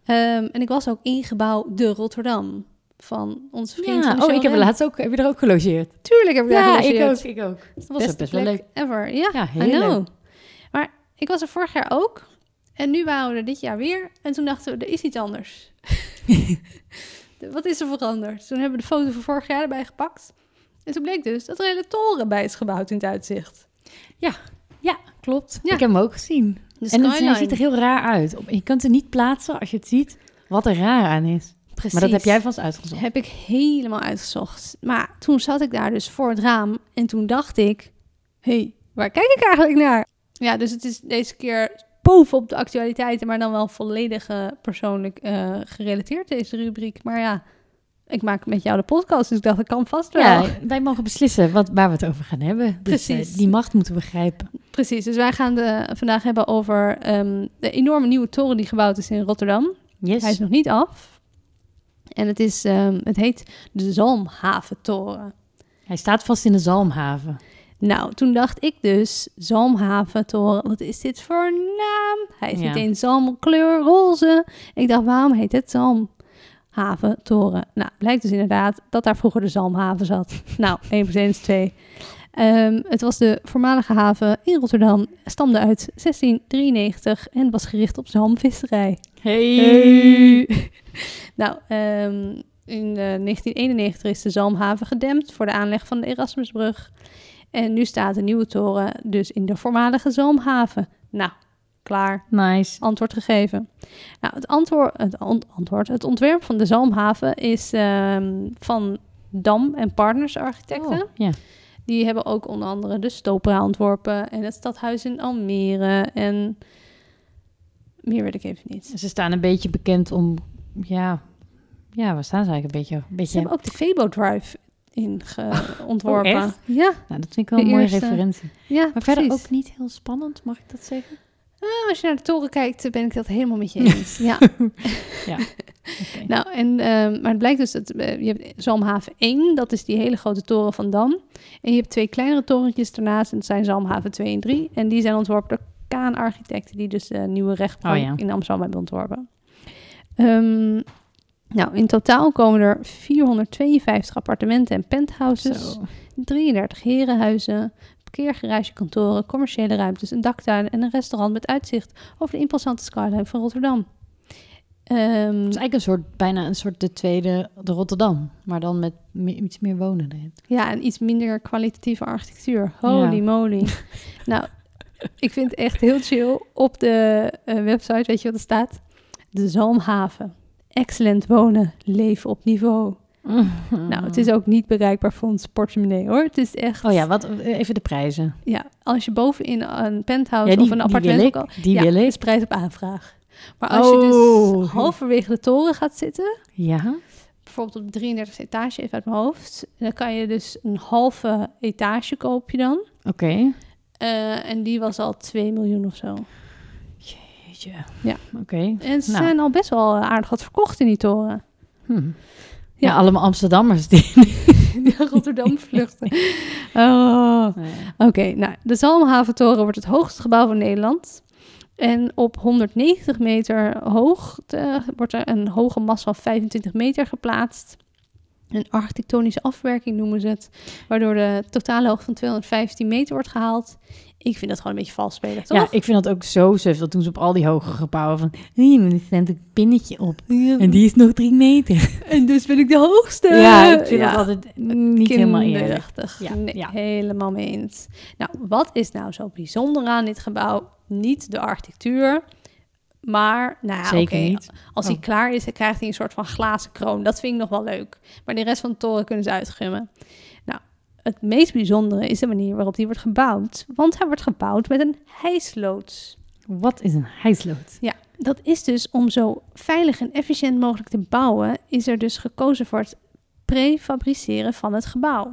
[SPEAKER 3] Ehm en ik was ook in gebouw De Rotterdam. van onze vriend.
[SPEAKER 2] Ja,
[SPEAKER 3] Michel
[SPEAKER 2] oh, ik heb er
[SPEAKER 3] Rem.
[SPEAKER 2] laatst ook, heb je er ook gelogeerd?
[SPEAKER 3] Tuurlijk heb ik daar
[SPEAKER 2] Ja, ik
[SPEAKER 3] gelogeerd.
[SPEAKER 2] ook, ik ook. Oh, nou, Dat was
[SPEAKER 3] Beste
[SPEAKER 2] best wel
[SPEAKER 3] plek
[SPEAKER 2] leuk.
[SPEAKER 3] Ever. Ja,
[SPEAKER 2] Ja,
[SPEAKER 3] I
[SPEAKER 2] heel
[SPEAKER 3] know.
[SPEAKER 2] leuk.
[SPEAKER 3] Maar ik was er vorig jaar ook. En nu waren we er dit jaar weer. En toen dachten we, er is iets anders. De- Wat is er veranderd? Toen hebben we de foto van vorig jaar erbij gepakt. En toen bleek dus dat er een hele toren bij is gebouwd in het uitzicht.
[SPEAKER 2] Klopt.
[SPEAKER 3] Ja.
[SPEAKER 2] Ik heb hem ook gezien.
[SPEAKER 3] De
[SPEAKER 2] En het, hij ziet er heel raar uit. Op- Je kunt het niet plaatsen als je het ziet wat er raar aan is.
[SPEAKER 3] Precies.
[SPEAKER 2] Maar dat heb jij vast uitgezocht.
[SPEAKER 3] Heb ik helemaal uitgezocht. Maar toen zat ik daar dus voor het raam en toen dacht ik... hey, waar kijk ik eigenlijk naar? Ja, dus het is deze keer bovenop de actualiteiten... maar dan wel volledig eh, persoonlijk eh, gerelateerd, deze rubriek. Maar ja, ik maak met jou de podcast, dus ik dacht, dat kan vast wel.
[SPEAKER 2] Ja, Nou, wij mogen beslissen wat, waar we het over gaan hebben. Dus,
[SPEAKER 3] Precies.
[SPEAKER 2] eh, die macht moeten we begrijpen.
[SPEAKER 3] Precies, dus wij gaan de, vandaag hebben over ehm, de enorme nieuwe toren die gebouwd is in Rotterdam.
[SPEAKER 2] Yes.
[SPEAKER 3] Hij is nog niet af. En het, is, ehm, het heet de Zalmhaventoren.
[SPEAKER 2] Hij staat vast in de Zalmhaven.
[SPEAKER 3] Nou, toen dacht ik dus, Zalmhaventoren, wat is dit voor naam? Hij is
[SPEAKER 2] Ja.
[SPEAKER 3] niet eens zalmkleur roze. Ik dacht, waarom heet het Zalmhaventoren? Nou, blijkt dus inderdaad dat daar vroeger de Zalmhaven zat. nou, 1 plus 1 is 2. Ehm, het was de voormalige haven in Rotterdam, stamde uit 1693 en was gericht op zalmvisserij.
[SPEAKER 2] Hey.
[SPEAKER 3] nou, ehm, in eh, 1991 is de Zalmhaven gedempt voor de aanleg van de Erasmusbrug. En nu staat de nieuwe toren dus in de voormalige Zalmhaven. Nou, klaar.
[SPEAKER 2] Nice.
[SPEAKER 3] Antwoord gegeven. Nou, het, antwoord, het, an- antwoord, het ontwerp van de Zalmhaven is ehm, van Dam en Partners Architecten.
[SPEAKER 2] Oh, ja.
[SPEAKER 3] Die hebben ook onder andere de Stopra ontworpen en het stadhuis in Almere. En meer weet ik even niet.
[SPEAKER 2] Ze staan een beetje bekend om... Ja, ja waar staan ze eigenlijk een beetje? Een
[SPEAKER 3] Ze
[SPEAKER 2] beetje
[SPEAKER 3] hebben ook de Febo Drive in ge- ontworpen.
[SPEAKER 2] Oh, echt?
[SPEAKER 3] Ja,
[SPEAKER 2] nou, dat vind ik wel een
[SPEAKER 3] de
[SPEAKER 2] mooie
[SPEAKER 3] eerste.
[SPEAKER 2] referentie.
[SPEAKER 3] ja.
[SPEAKER 2] Maar verder
[SPEAKER 3] precies.
[SPEAKER 2] ook niet heel spannend, mag ik dat zeggen?
[SPEAKER 3] Nou, als je naar de toren kijkt, ben ik dat helemaal met je eens. ja.
[SPEAKER 2] Oké.
[SPEAKER 3] Nou, en, ehm, maar het blijkt dus dat eh, je hebt Zalmhaven 1, dat is die hele grote toren van Dam. En je hebt twee kleinere torentjes daarnaast, en dat zijn Zalmhaven 2 en 3. En die zijn ontworpen door Kaan-architecten, die dus de nieuwe rechtbank
[SPEAKER 2] Oh ja.
[SPEAKER 3] in Amsterdam hebben ontworpen. Ehm, nou, in totaal komen er 452 appartementen en penthouses.
[SPEAKER 2] Zo.
[SPEAKER 3] 33 herenhuizen, parkeergarage, kantoren, commerciële ruimtes, een daktuin en een restaurant met uitzicht over de imposante skyline van Rotterdam. Ehm,
[SPEAKER 2] Het is eigenlijk een soort, bijna een soort de tweede de Rotterdam. Maar dan met me- iets meer wonen erin.
[SPEAKER 3] ja, en iets minder kwalitatieve architectuur. Holy
[SPEAKER 2] Ja.
[SPEAKER 3] moly. nou, ik vind het echt heel chill. Op de eh, website, weet je wat er staat? De Zalmhaven. Excellent wonen, leven op niveau. Nou, het is ook niet bereikbaar voor ons portemonnee hoor. Het is echt...
[SPEAKER 2] Ah. Oh ja, wat, even de prijzen.
[SPEAKER 3] Ja, als je bovenin een penthouse
[SPEAKER 2] ja, die,
[SPEAKER 3] of Oh, een
[SPEAKER 2] die
[SPEAKER 3] appartement
[SPEAKER 2] wil
[SPEAKER 3] wil-
[SPEAKER 2] ik. Die
[SPEAKER 3] ja,
[SPEAKER 2] wil
[SPEAKER 3] is
[SPEAKER 2] ik.
[SPEAKER 3] prijs op aanvraag. Maar als je dus
[SPEAKER 2] Oh.
[SPEAKER 3] halverwege de toren gaat zitten,
[SPEAKER 2] Ja.
[SPEAKER 3] bijvoorbeeld op de 33 etage, even uit mijn hoofd, dan kan je dus een halve etage koop je dan.
[SPEAKER 2] Oké.
[SPEAKER 3] Eh, en die was al 2 miljoen of zo.
[SPEAKER 2] Jeetje.
[SPEAKER 3] Ja.
[SPEAKER 2] Oké.
[SPEAKER 3] En ze
[SPEAKER 2] Nou.
[SPEAKER 3] zijn al best wel eh, aardig wat verkocht in die toren.
[SPEAKER 2] Hm.
[SPEAKER 3] Ja.
[SPEAKER 2] Ja, allemaal Amsterdammers die...
[SPEAKER 3] Die Rotterdam vluchten. Oh. Oké, nou, de Zalmhaventoren wordt het hoogste gebouw van Nederland. En op 190 meter hoogte wordt er een hoge mast van 25 meter geplaatst. Een architectonische afwerking noemen ze het, waardoor de totale hoogte van 215 meter wordt gehaald. Ik vind dat gewoon een beetje vals spelen, toch?
[SPEAKER 2] Ja, ik vind dat ook zo suf. Dat doen ze op al die hoge gebouwen. Van, hier, er staat een pinnetje op. En die is nog drie meter.
[SPEAKER 3] En dus ben ik de hoogste.
[SPEAKER 2] Ja, ik vind dat altijd niet helemaal eerlijk.
[SPEAKER 3] Kinderachtig.
[SPEAKER 2] Ja,
[SPEAKER 3] nee,
[SPEAKER 2] ja.
[SPEAKER 3] helemaal mee eens. Nou, wat is nou zo bijzonder aan dit gebouw? Niet de architectuur, maar nou, ja,
[SPEAKER 2] Zeker
[SPEAKER 3] oké,
[SPEAKER 2] niet.
[SPEAKER 3] Als hij
[SPEAKER 2] Oh.
[SPEAKER 3] klaar is, dan krijgt hij een soort van glazen kroon. Dat vind ik nog wel leuk. Maar de rest van de toren kunnen ze uitgummen. Nou, het meest bijzondere is de manier waarop die wordt gebouwd. Want hij wordt gebouwd met een hijsloods.
[SPEAKER 2] Wat is een hijslood?
[SPEAKER 3] Dat is dus om zo veilig en efficiënt mogelijk te bouwen, is er dus gekozen voor het prefabriceren van het gebouw.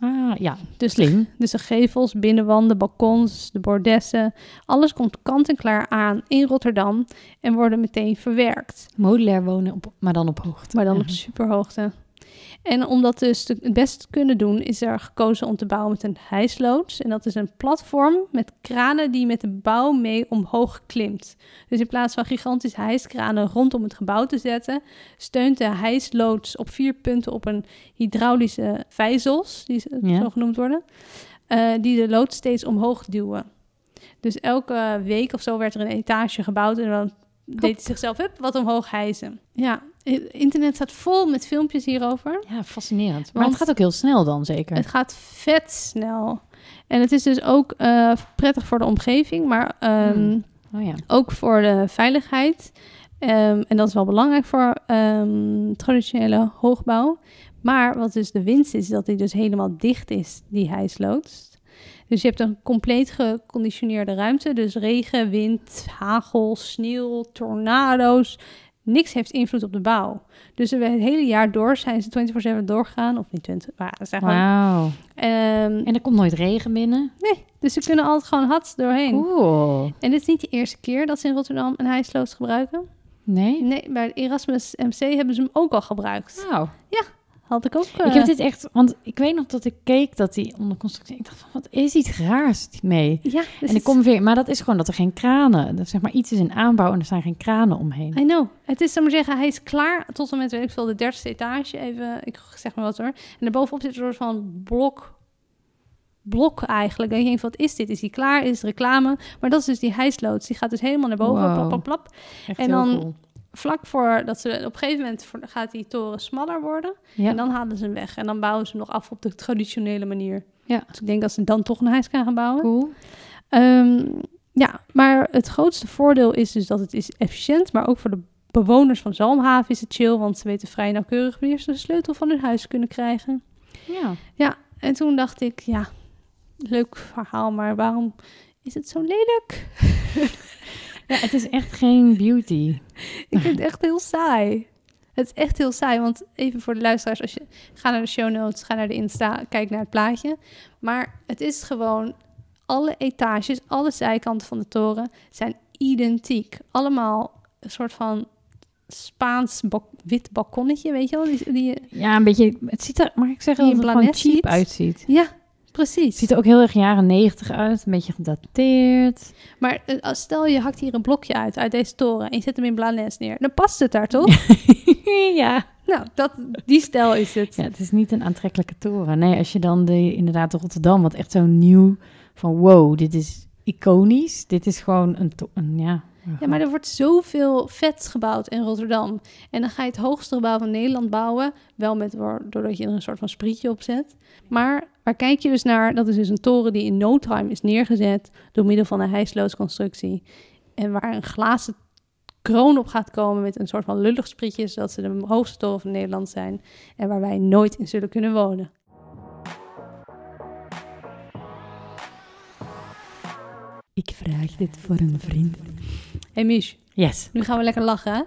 [SPEAKER 2] Ah, ja.
[SPEAKER 3] Dus
[SPEAKER 2] Slim.
[SPEAKER 3] Dus de gevels, binnenwanden, balkons, de bordessen. Alles komt kant-en-klaar aan in Rotterdam en worden meteen verwerkt.
[SPEAKER 2] Modulair wonen, op, maar dan op hoogte. Mhm.
[SPEAKER 3] Maar dan op
[SPEAKER 2] Ja.
[SPEAKER 3] superhoogte. En om dat dus te- het beste te kunnen doen, is er gekozen om te bouwen met een hijsloods. En dat is een platform met kranen die met de bouw mee omhoog klimt. Dus in plaats van gigantische hijskranen rondom het gebouw te zetten, steunt de hijsloods op vier punten op een hydraulische vijzels, die ze-
[SPEAKER 2] Ja.
[SPEAKER 3] zo genoemd worden, eh, die de loods steeds omhoog duwen. Dus elke week of zo werd er een etage gebouwd en dan deed hij zichzelf hup, wat omhoog hijzen. Ja, i- internet staat vol met filmpjes hierover.
[SPEAKER 2] Ja, fascinerend. Maar
[SPEAKER 3] Want-
[SPEAKER 2] het gaat ook heel snel dan zeker.
[SPEAKER 3] Het gaat vet snel. En het is dus ook eh, prettig voor de omgeving, maar ehm,
[SPEAKER 2] Hmm. Oh ja.
[SPEAKER 3] ook voor de veiligheid. Ehm, en dat is wel belangrijk voor ehm, traditionele hoogbouw. Maar wat dus de winst is, is dat hij dus helemaal dicht is, die hijsloods. Dus je hebt een compleet geconditioneerde ruimte. Dus regen, wind, hagel, sneeuw, tornado's. Niks heeft invloed op de bouw. Dus er- het hele jaar door zijn ze 24-7 doorgegaan. Of niet 20, maar ze zijn gewoon
[SPEAKER 2] Wauw.
[SPEAKER 3] Ehm,
[SPEAKER 2] En er komt nooit regen binnen.
[SPEAKER 3] nee, dus ze kunnen altijd gewoon hats doorheen.
[SPEAKER 2] Cool.
[SPEAKER 3] En dit is niet de eerste keer dat ze in Rotterdam een hijsloods gebruiken.
[SPEAKER 2] Nee?
[SPEAKER 3] Nee, bij de Erasmus MC hebben ze hem ook al gebruikt.
[SPEAKER 2] Nou,
[SPEAKER 3] Had ik ook. eh,
[SPEAKER 2] ik heb dit echt... Want ik weet nog dat ik keek dat die onder constructie... Ik dacht van, wat is iets raars mee?
[SPEAKER 3] Ja, dus
[SPEAKER 2] en ik
[SPEAKER 3] het-
[SPEAKER 2] kom weer... Maar dat is gewoon dat er geen kranen... Dat zeg maar iets is in aanbouw en er staan geen kranen omheen.
[SPEAKER 3] I know. Het is, zou maar zeggen, hij is klaar tot en met, weet ik veel, de dertigste etage. Even, ik zeg maar wat hoor. En daarbovenop zit een soort van blok, blok eigenlijk. En je denkt, wat is dit? Is hij klaar? Is het reclame? Maar dat is dus die hijsloods. Die gaat dus helemaal naar boven,
[SPEAKER 2] Wow.
[SPEAKER 3] plap, plap, plap.
[SPEAKER 2] Echt
[SPEAKER 3] En
[SPEAKER 2] heel
[SPEAKER 3] dan-
[SPEAKER 2] cool.
[SPEAKER 3] Vlak voor dat ze, op een gegeven moment voor- gaat die toren smaller worden.
[SPEAKER 2] Ja.
[SPEAKER 3] En dan halen ze hem weg. En dan bouwen ze hem nog af op de traditionele manier.
[SPEAKER 2] Ja.
[SPEAKER 3] Dus ik denk dat ze dan toch een huis gaan gaan bouwen.
[SPEAKER 2] Cool.
[SPEAKER 3] Ehm, ja, maar het grootste voordeel is dus dat het is efficiënt. Maar ook voor de bewoners van Zalmhaven is het chill. Want ze weten vrij nauwkeurig wanneer ze de sleutel van hun huis kunnen krijgen.
[SPEAKER 2] Ja.
[SPEAKER 3] En toen dacht ik, ja, leuk verhaal. Maar waarom is het zo lelijk?
[SPEAKER 2] ja. Het is echt geen beauty.
[SPEAKER 3] Ik vind het echt heel saai. Het is echt heel saai, want even voor de luisteraars, als je ga naar de show notes, ga naar de Insta, kijk naar het plaatje. Maar het is gewoon alle etages, alle zijkanten van de toren zijn identiek. Allemaal een soort van Spaans bak- wit balkonnetje, weet je wel? Die, die,
[SPEAKER 2] Ja, een beetje... Het ziet er... Mag ik zeggen
[SPEAKER 3] Die
[SPEAKER 2] dat het
[SPEAKER 3] een
[SPEAKER 2] gewoon
[SPEAKER 3] planet
[SPEAKER 2] cheap
[SPEAKER 3] ziet?
[SPEAKER 2] uitziet?
[SPEAKER 3] ja,
[SPEAKER 2] Het
[SPEAKER 3] precies.
[SPEAKER 2] ziet er ook heel erg jaren 90 uit, een beetje gedateerd.
[SPEAKER 3] Maar eh, als- stel je hakt hier een blokje uit, uit deze toren, en je zet hem in Blanes neer, dan past het daar toch?
[SPEAKER 2] ja.
[SPEAKER 3] Nou, dat, die stijl is het.
[SPEAKER 2] ja. Het is niet een aantrekkelijke toren. Nee, als je dan de, inderdaad Rotterdam, wat echt zo nieuw van wow, dit is iconisch. Dit is gewoon een, to- een ja.
[SPEAKER 3] Ja, maar er wordt zoveel vet gebouwd in Rotterdam. En dan ga je het hoogste gebouw van Nederland bouwen. Wel met, waar- doordat je er een soort van sprietje op zet. Maar waar kijk je dus naar? Dat is dus een toren die in no time is neergezet. door middel van een hijsloodsconstructie. En waar een glazen kroon op gaat komen met een soort van lullig sprietje. zodat ze de hoogste toren van Nederland zijn. En waar wij nooit in zullen kunnen wonen.
[SPEAKER 4] Ik vraag dit voor een vriend.
[SPEAKER 3] Hey Mich,
[SPEAKER 2] Yes.
[SPEAKER 3] nu gaan we lekker lachen, hè?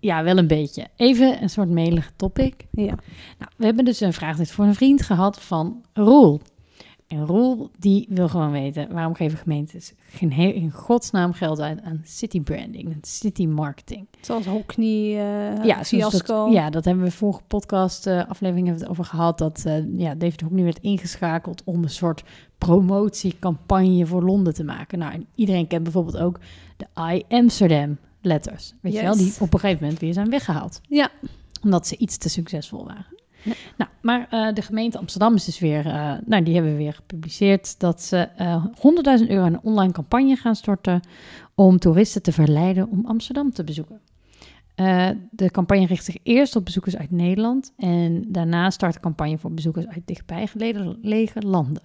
[SPEAKER 2] Ja, wel een beetje. Even een soort melige topic.
[SPEAKER 3] Ja.
[SPEAKER 2] Nou, we hebben dus een vraag dit voor een vriend gehad van Roel. En Roel die wil gewoon weten waarom geven gemeentes geen he- in godsnaam geld uit aan city branding en city marketing.
[SPEAKER 3] Zoals Hockney, eh
[SPEAKER 2] ja, zoals
[SPEAKER 3] Fiasco.
[SPEAKER 2] Dat, ja, dat hebben we vorige podcast eh, aflevering hebben we het over gehad. Dat eh ja, David Hockney werd ingeschakeld om een soort promotiecampagne voor Londen te maken. Nou, en iedereen kent bijvoorbeeld ook de I Amsterdam letters. Weet je wel,
[SPEAKER 3] Yes.
[SPEAKER 2] die op een gegeven moment weer zijn weggehaald.
[SPEAKER 3] Ja.
[SPEAKER 2] Omdat ze iets te succesvol waren.
[SPEAKER 3] Ja.
[SPEAKER 2] Nou, maar eh, de gemeente Amsterdam is dus weer, eh, nou die hebben weer gepubliceerd dat ze eh 100.000 euro aan een online campagne gaan storten om toeristen te verleiden om Amsterdam te bezoeken. Eh, de campagne richt zich eerst op bezoekers uit Nederland en daarna start de campagne voor bezoekers uit dichtbij gelegen lege landen.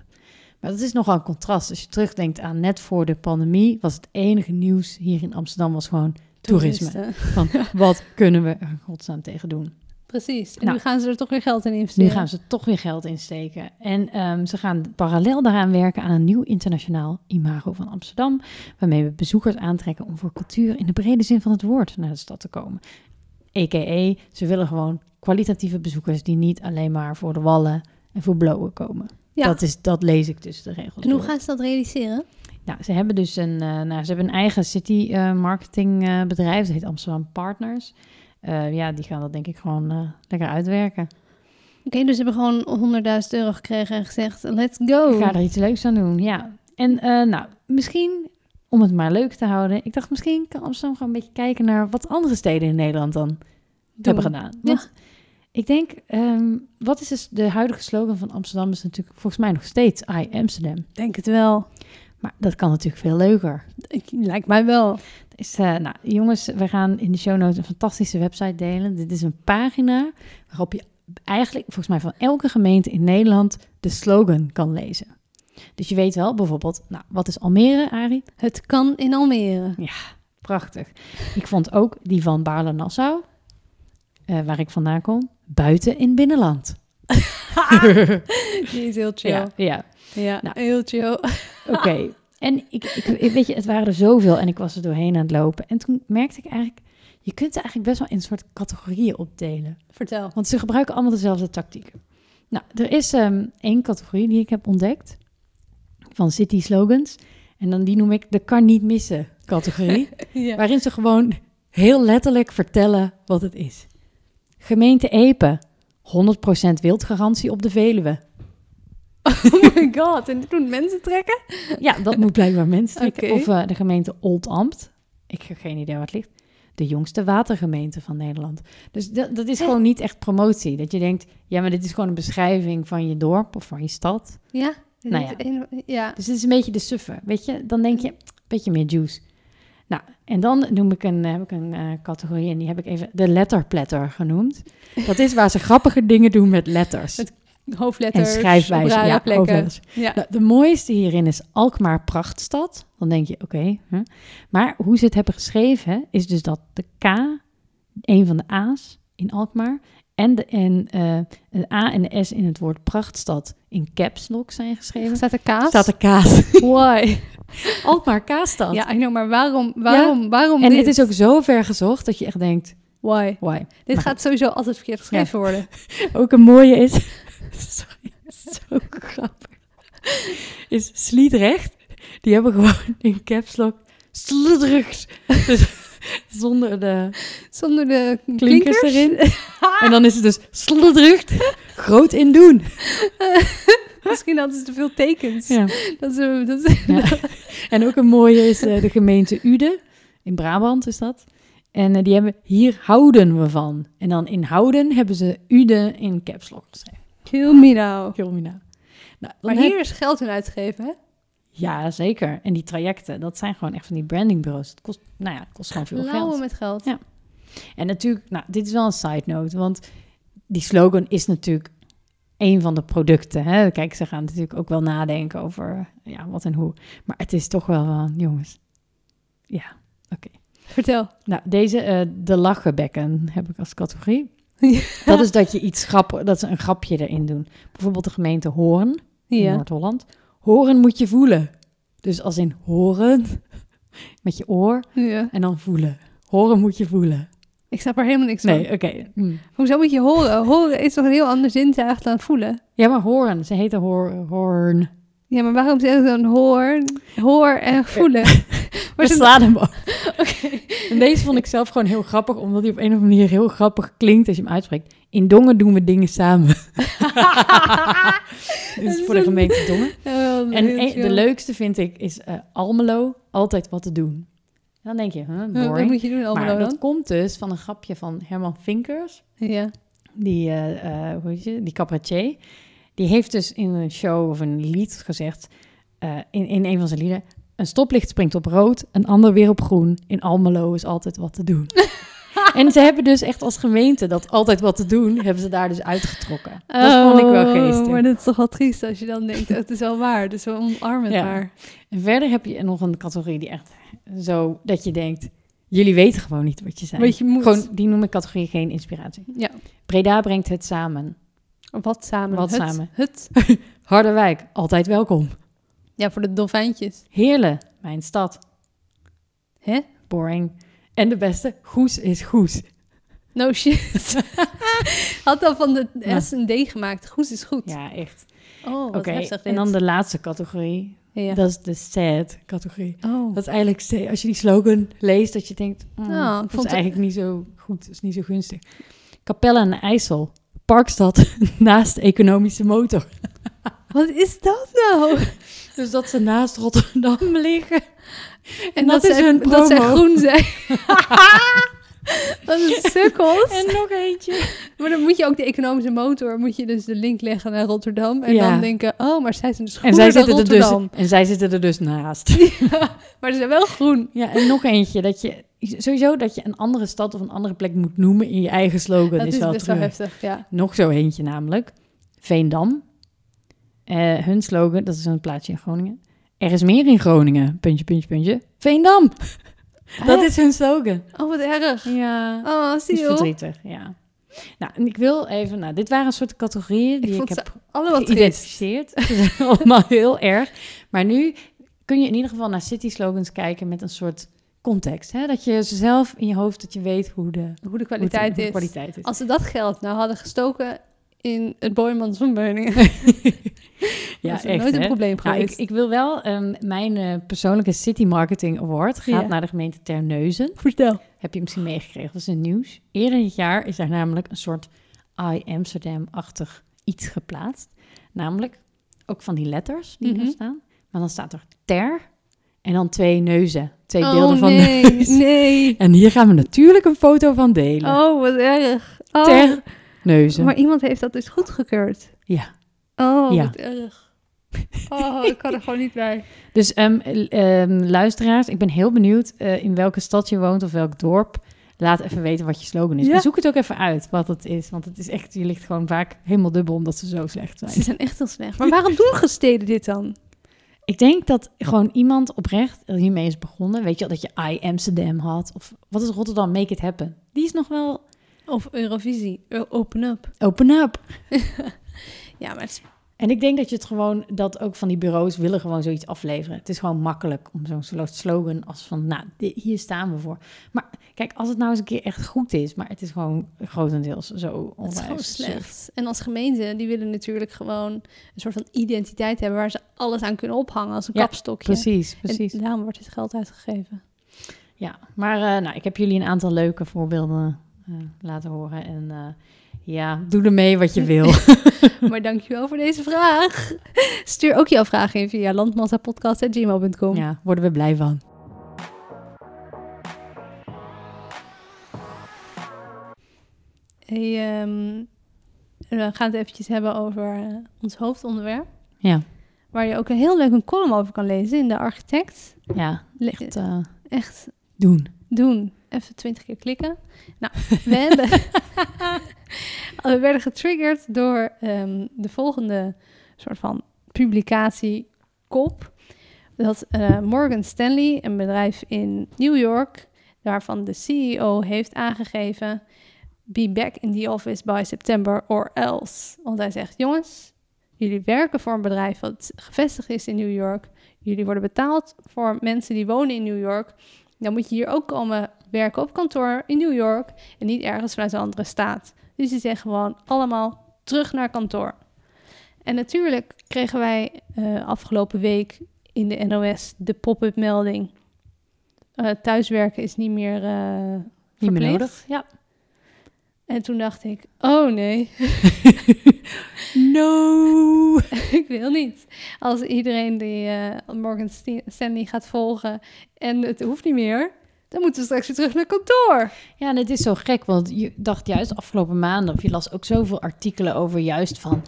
[SPEAKER 2] Maar dat is nogal een contrast. Als je terugdenkt aan net voor de pandemie, was het enige nieuws hier in Amsterdam was gewoon toerisme.
[SPEAKER 3] Toeristen.
[SPEAKER 2] Van wat kunnen we er in godsnaam tegen doen?
[SPEAKER 3] Precies. En
[SPEAKER 2] Nou.
[SPEAKER 3] nu gaan ze er toch weer geld in
[SPEAKER 2] Dus Nu
[SPEAKER 3] investeren.
[SPEAKER 2] gaan ze toch weer geld insteken. En ehm, ze gaan parallel daaraan werken aan een nieuw internationaal imago van Amsterdam. Waarmee we bezoekers aantrekken om voor cultuur in de brede zin van het woord naar de stad te komen. EKE, ze willen gewoon kwalitatieve bezoekers die niet alleen maar voor de wallen en voor blowen komen.
[SPEAKER 3] Ja.
[SPEAKER 2] Dat, is, dat lees ik tussen de regels.
[SPEAKER 3] En hoe
[SPEAKER 2] door.
[SPEAKER 3] gaan ze dat realiseren?
[SPEAKER 2] Nou, ze hebben dus een, eh, nou, ze hebben een eigen city eh, marketing eh, bedrijf. Dat heet Amsterdam Partners. Eh, ja, die gaan dat denk ik gewoon eh, lekker uitwerken.
[SPEAKER 3] dus ze hebben gewoon 100.000 euro gekregen en gezegd, let's go.
[SPEAKER 2] Ik ga er iets leuks aan doen, ja. En eh, nou, misschien, om het maar leuk te houden... Ik dacht, misschien kan Amsterdam gewoon een beetje kijken naar... wat andere steden in Nederland dan hebben gedaan. Want ik denk, ehm, wat is dus de huidige slogan van Amsterdam? Is natuurlijk volgens mij nog steeds I Amsterdam.
[SPEAKER 3] Denk het wel.
[SPEAKER 2] Maar dat kan natuurlijk veel leuker.
[SPEAKER 3] Ik- Lijkt mij wel.
[SPEAKER 2] Is, eh, nou, jongens, we gaan in de show notes een fantastische website delen. Dit is een pagina waarop je eigenlijk volgens mij van elke gemeente in Nederland de slogan kan lezen. Dus je weet wel bijvoorbeeld, nou, wat is Almere, Arie?
[SPEAKER 3] Het kan in Almere.
[SPEAKER 2] Prachtig. Ik vond ook die van Baarle-Nassau, eh, waar ik vandaan kom, buiten in binnenland.
[SPEAKER 3] Ah, Die is heel chill.
[SPEAKER 2] Ja,
[SPEAKER 3] Ja,
[SPEAKER 2] ja. Nou.
[SPEAKER 3] heel chill.
[SPEAKER 2] Oké. En ik, ik, ik- weet je, het waren er zoveel en ik was er doorheen aan het lopen. En toen merkte ik eigenlijk, je kunt ze eigenlijk best wel in soort categorieën opdelen.
[SPEAKER 3] Vertel.
[SPEAKER 2] Want ze gebruiken allemaal dezelfde tactieken. Nou, er is ehm, één categorie die ik heb ontdekt van city slogans. En dan die noem ik de kan niet missen categorie.
[SPEAKER 3] Ja.
[SPEAKER 2] waarin ze gewoon heel letterlijk vertellen wat het is. Gemeente Epe, 100% wildgarantie op de Veluwe.
[SPEAKER 3] Oh my god, en dit doen mensen trekken?
[SPEAKER 2] Ja, dat moet blijkbaar mensen.
[SPEAKER 3] Oké.
[SPEAKER 2] Of eh, de gemeente Oldambt. Ik heb geen idee waar het ligt. De jongste watergemeente van Nederland. Dus dat, dat is gewoon niet echt promotie. Dat je denkt, ja, maar dit is gewoon een beschrijving van je dorp of van je stad.
[SPEAKER 3] Ja. dit
[SPEAKER 2] Nou
[SPEAKER 3] is
[SPEAKER 2] ja.
[SPEAKER 3] een- ja.
[SPEAKER 2] Dus het is een beetje de suffe. Weet je, dan denk je, een beetje meer juice. Nou, en dan noem ik een, heb ik een eh, categorie en die heb ik even de letterplatter genoemd. Dat is waar ze grappige dingen doen met letters.
[SPEAKER 3] Met
[SPEAKER 2] en
[SPEAKER 3] Hoofdletters.
[SPEAKER 2] schrijfwijze.
[SPEAKER 3] op rare
[SPEAKER 2] Ja,
[SPEAKER 3] plekken.
[SPEAKER 2] overal.
[SPEAKER 3] Ja.
[SPEAKER 2] Nou, de mooiste hierin is Alkmaar Prachtstad. Dan denk je, oké. hè. Maar hoe ze het hebben geschreven is dus dat de K, een van de A's in Alkmaar, en de, en, eh, de A en de S in het woord Prachtstad in caps lock zijn geschreven.
[SPEAKER 3] Staat er kaas?
[SPEAKER 2] Staat de kaas.
[SPEAKER 3] Why?
[SPEAKER 2] Alkmaar Kaasstad.
[SPEAKER 3] Ja, I know, maar waarom, waarom, waarom
[SPEAKER 2] en
[SPEAKER 3] dit?
[SPEAKER 2] het is ook zo ver gezocht dat je echt denkt,
[SPEAKER 3] Why?
[SPEAKER 2] why?
[SPEAKER 3] Dit
[SPEAKER 2] Maar-
[SPEAKER 3] gaat sowieso altijd verkeerd geschreven worden.
[SPEAKER 2] Ook een mooie is. Sorry, zo grappig. Is Sliedrecht. Die hebben gewoon in caps lock Sliedrecht. Dus zonder de
[SPEAKER 3] Zonder de klinkers.
[SPEAKER 2] klinkers erin. En dan is het dus Sliedrecht. Groot in doen.
[SPEAKER 3] Misschien hadden ze te veel tekens.
[SPEAKER 2] Ja.
[SPEAKER 3] Dat is, dat is-
[SPEAKER 2] Ja. En ook een mooie is eh, de gemeente Uden. In Brabant is dat. En eh, die hebben hier houden we van. En dan in houden hebben ze Uden in caps lock geschreven.
[SPEAKER 3] Kill me now.
[SPEAKER 2] Heel mooi naam. Nou, dan
[SPEAKER 3] Maar
[SPEAKER 2] heb-
[SPEAKER 3] hier is geld in uitgegeven, hè?
[SPEAKER 2] Ja, zeker. En die trajecten, dat zijn gewoon echt van die brandingbureaus. Het kost, nou ja, het kost gewoon veel
[SPEAKER 3] Lauwen
[SPEAKER 2] geld.
[SPEAKER 3] met geld.
[SPEAKER 2] Ja. En natuurlijk, nou, dit is wel een side note, want die slogan is natuurlijk een van de producten. Hè? Kijk, ze gaan natuurlijk ook wel nadenken over ja, wat en hoe. Maar het is toch wel van, jongens. Ja, oké.
[SPEAKER 3] Vertel.
[SPEAKER 2] Nou, deze, eh, de lachenbekken heb ik als categorie. Dat is dat je iets grappig, dat ze een grapje erin doen. Bijvoorbeeld de gemeente Hoorn in
[SPEAKER 3] Ja.
[SPEAKER 2] Noord-Holland. Horen moet je voelen. Dus als in horen met je oor
[SPEAKER 3] ja.
[SPEAKER 2] en dan voelen. Horen moet je voelen.
[SPEAKER 3] Ik snap er helemaal niks
[SPEAKER 2] Nee,
[SPEAKER 3] van.
[SPEAKER 2] oké. Hm.
[SPEAKER 3] Hoezo moet je horen? Horen is toch een heel ander zintuig dan voelen?
[SPEAKER 2] Ja, maar horen. Ze heten hoor, hoorn.
[SPEAKER 3] Ja, maar waarom zeggen ze dan hoor, hoor en voelen?
[SPEAKER 2] We
[SPEAKER 3] Maar ze-
[SPEAKER 2] slaan hem op. En deze vond ik zelf gewoon heel grappig, omdat hij op een of andere manier heel grappig klinkt als je hem uitspreekt. In Dongen doen we dingen samen.
[SPEAKER 3] Dat
[SPEAKER 2] dus
[SPEAKER 3] is
[SPEAKER 2] voor de
[SPEAKER 3] een-
[SPEAKER 2] gemeente Dongen.
[SPEAKER 3] Oh,
[SPEAKER 2] En
[SPEAKER 3] heel
[SPEAKER 2] een-
[SPEAKER 3] chill.
[SPEAKER 2] de leukste vind ik is eh, Almelo, altijd wat te doen. Dan denk je, huh,
[SPEAKER 3] Huh, Wat
[SPEAKER 2] boring.
[SPEAKER 3] moet je doen allemaal
[SPEAKER 2] Maar dat
[SPEAKER 3] dan?
[SPEAKER 2] komt dus van een grapje van Herman Vinkers,
[SPEAKER 3] Ja.
[SPEAKER 2] die, eh, eh, hoe heet je, die cabaretier. Die heeft dus in een show of een lied gezegd, eh, in, in een van zijn lieden... Een stoplicht springt op rood, een ander weer op groen. In Almelo is altijd wat te doen. en ze hebben dus echt als gemeente dat altijd wat te doen, hebben ze daar dus uitgetrokken. Dat vond ik wel geestig.
[SPEAKER 3] Oh, Maar dat is toch wel triest als je dan denkt, het is wel waar, dus we omarmen het
[SPEAKER 2] Ja.
[SPEAKER 3] maar.
[SPEAKER 2] En verder heb je nog een categorie die echt zo, dat je denkt, jullie weten gewoon niet wat je zei.
[SPEAKER 3] Weet je moet.
[SPEAKER 2] Gewoon, die noem ik categorie geen inspiratie.
[SPEAKER 3] Ja,
[SPEAKER 2] Breda brengt het samen.
[SPEAKER 3] wat samen.
[SPEAKER 2] Wat
[SPEAKER 3] het,
[SPEAKER 2] samen.
[SPEAKER 3] Het.
[SPEAKER 2] Harderwijk, altijd welkom.
[SPEAKER 3] Ja, voor de dolfijntjes.
[SPEAKER 2] Heerlen, mijn stad.
[SPEAKER 3] Hè?
[SPEAKER 2] Boring. En de beste, Goes is Goes.
[SPEAKER 3] No shit. Had dan van de
[SPEAKER 2] Ja.
[SPEAKER 3] S een D gemaakt. Goed is goed.
[SPEAKER 2] Ja, echt.
[SPEAKER 3] Oh, wat
[SPEAKER 2] Oké,
[SPEAKER 3] heftig
[SPEAKER 2] en
[SPEAKER 3] dit.
[SPEAKER 2] dan de laatste categorie.
[SPEAKER 3] Ja.
[SPEAKER 2] Dat is de sad categorie.
[SPEAKER 3] Oh.
[SPEAKER 2] Dat is eigenlijk, sa- als je die slogan leest, dat je denkt... mm,
[SPEAKER 3] Nou, ik
[SPEAKER 2] dat
[SPEAKER 3] vond het-
[SPEAKER 2] is eigenlijk niet zo goed, dat is niet zo gunstig. Capelle en IJssel, Parkstad naast Economische Motor.
[SPEAKER 3] Wat is dat nou? En,
[SPEAKER 2] Dus dat ze naast Rotterdam liggen. En,
[SPEAKER 3] dat,
[SPEAKER 2] dat, is
[SPEAKER 3] zij,
[SPEAKER 2] hun promo.
[SPEAKER 3] dat zij groen zijn. dat is sukkels.
[SPEAKER 2] En nog eentje.
[SPEAKER 3] maar dan moet je ook de economische motor, moet je dus de link leggen naar Rotterdam. En
[SPEAKER 2] Ja.
[SPEAKER 3] dan denken, oh, maar zij zijn dus groen
[SPEAKER 2] En zij, zitten er dus,
[SPEAKER 3] Rotterdam.
[SPEAKER 2] en zij zitten er dus naast.
[SPEAKER 3] Maar ze zijn wel groen.
[SPEAKER 2] Ja, en nog eentje. Dat je, sowieso dat je een andere stad of een andere plek moet noemen in je eigen slogan.
[SPEAKER 3] dat
[SPEAKER 2] is,
[SPEAKER 3] is
[SPEAKER 2] wel
[SPEAKER 3] best wel
[SPEAKER 2] terug.
[SPEAKER 3] heftig, ja.
[SPEAKER 2] Nog zo eentje namelijk. Veendam. Eh, hun slogan, dat is een plaatsje in Groningen. Er is meer in Groningen. Puntje, puntje, puntje. Veendam. Dat
[SPEAKER 3] Hè?
[SPEAKER 2] is hun slogan.
[SPEAKER 3] Oh, wat erg.
[SPEAKER 2] Ja.
[SPEAKER 3] Oh,
[SPEAKER 2] Dat
[SPEAKER 3] Ah,
[SPEAKER 2] is
[SPEAKER 3] zie je
[SPEAKER 2] verdrietig, ja. Nou, en ik wil even... Nou, dit waren een soort categorieën
[SPEAKER 3] Ik
[SPEAKER 2] die ik,
[SPEAKER 3] vond ze
[SPEAKER 2] heb
[SPEAKER 3] Allemaal triest.
[SPEAKER 2] geïdentificeerd. Ze zijn allemaal heel erg. Maar nu kun je in ieder geval naar city slogans kijken met een soort context. Hè? Dat je zelf in je hoofd, dat je weet hoe de, hoe de-
[SPEAKER 3] Hoe de
[SPEAKER 2] hoe de
[SPEAKER 3] kwaliteit is.
[SPEAKER 2] kwaliteit is.
[SPEAKER 3] Als ze dat geld nou hadden gestoken in het Boymans van Beuningen.
[SPEAKER 2] Ja,
[SPEAKER 3] was er
[SPEAKER 2] echt,
[SPEAKER 3] nooit een
[SPEAKER 2] hè?
[SPEAKER 3] probleem
[SPEAKER 2] Nou,
[SPEAKER 3] geweest.
[SPEAKER 2] ik, ik wil wel, ehm, mijn eh, persoonlijke City Marketing Award gaat
[SPEAKER 3] Ja.
[SPEAKER 2] naar de gemeente Terneuzen.
[SPEAKER 3] Vertel.
[SPEAKER 2] Heb je misschien meegekregen, dat is in het nieuws. Eerder dit jaar is daar namelijk een soort I Amsterdam-achtig iets geplaatst. Namelijk ook van die letters die
[SPEAKER 3] Mhm.
[SPEAKER 2] er staan. Maar dan staat er ter en dan twee neuzen. Twee
[SPEAKER 3] Oh,
[SPEAKER 2] beelden van
[SPEAKER 3] nee,
[SPEAKER 2] neus.
[SPEAKER 3] nee.
[SPEAKER 2] En hier gaan we natuurlijk een foto van delen.
[SPEAKER 3] Oh, wat erg. Oh,
[SPEAKER 2] Ter neuzen.
[SPEAKER 3] Maar iemand heeft dat dus goedgekeurd.
[SPEAKER 2] Ja.
[SPEAKER 3] Oh,
[SPEAKER 2] Ja.
[SPEAKER 3] wat erg. Oh, ik kan er gewoon niet bij.
[SPEAKER 2] Dus ehm, l- ehm, luisteraars, ik ben heel benieuwd eh, in welke stad je woont of welk dorp. Laat even weten wat je slogan is.
[SPEAKER 3] Ja.
[SPEAKER 2] En zoek het ook even uit wat het is. Want het is echt, je ligt gewoon vaak helemaal dubbel omdat ze zo slecht zijn.
[SPEAKER 3] Ze zijn echt heel slecht. Maar waarom doen gesteden dit dan?
[SPEAKER 2] Ik denk dat gewoon iemand oprecht er hiermee is begonnen. Weet je wel, dat je I Amsterdam had. Of wat is Rotterdam? Make it happen. Die is nog wel
[SPEAKER 3] Of Eurovisie, Eu- open up.
[SPEAKER 2] open up.
[SPEAKER 3] Ja, maar het is-
[SPEAKER 2] En ik denk dat je het gewoon, dat ook van die bureaus willen gewoon zoiets afleveren. Het is gewoon makkelijk om zo'n slo- slogan als van, nou, di- hier staan we voor. Maar kijk, als het nou eens een keer echt goed is, maar het is gewoon grotendeels zo
[SPEAKER 3] het
[SPEAKER 2] onwijs
[SPEAKER 3] is gewoon
[SPEAKER 2] suf.
[SPEAKER 3] slecht. En als gemeente, die willen natuurlijk gewoon een soort van identiteit hebben... waar ze alles aan kunnen ophangen als een
[SPEAKER 2] Ja,
[SPEAKER 3] kapstokje.
[SPEAKER 2] Precies,
[SPEAKER 3] En
[SPEAKER 2] precies.
[SPEAKER 3] daarom wordt het geld uitgegeven.
[SPEAKER 2] Ja, maar eh, nou, ik heb jullie een aantal leuke voorbeelden eh, laten horen. En eh, ja, doe ermee wat je wil.
[SPEAKER 3] maar dankjewel voor deze vraag. Stuur ook jouw vraag in via landmassapodcast.gmail.com.
[SPEAKER 2] ja, worden we blij van.
[SPEAKER 3] Hey, ehm, we gaan het eventjes hebben over eh, ons hoofdonderwerp.
[SPEAKER 2] Ja,
[SPEAKER 3] Waar je ook een heel leuk een column over kan lezen in de architect.
[SPEAKER 2] ja,
[SPEAKER 3] Le-
[SPEAKER 2] het, eh,
[SPEAKER 3] echt
[SPEAKER 2] doen.
[SPEAKER 3] doen. Even twintig keer klikken. Nou, we, hebben, we werden getriggerd door ehm, de volgende soort van publicatie kop. Dat eh, Morgan Stanley, een bedrijf in New York, waarvan de CEO heeft aangegeven... Be back in the office by September or else. Want hij zegt, jongens, jullie werken voor een bedrijf dat gevestigd is in New York. Jullie worden betaald voor mensen die wonen in New York. Dan moet je hier ook komen werken op kantoor in New York en niet ergens vanuit een andere staat. Dus die zeggen gewoon allemaal terug naar kantoor. En natuurlijk kregen wij eh, afgelopen week in de NOS de pop-up melding. Eh, thuiswerken is niet meer, eh
[SPEAKER 2] Niet meer
[SPEAKER 3] verplicht.
[SPEAKER 2] nodig. Ja.
[SPEAKER 3] En toen dacht ik, oh nee,
[SPEAKER 2] No.
[SPEAKER 3] ik wil niet. Als iedereen die eh Morgan Sti- Stanley gaat volgen en het hoeft niet meer, dan moeten we straks weer terug naar kantoor.
[SPEAKER 2] Ja, en het is zo gek, want je dacht juist de afgelopen maanden, of je las ook zoveel artikelen over juist van,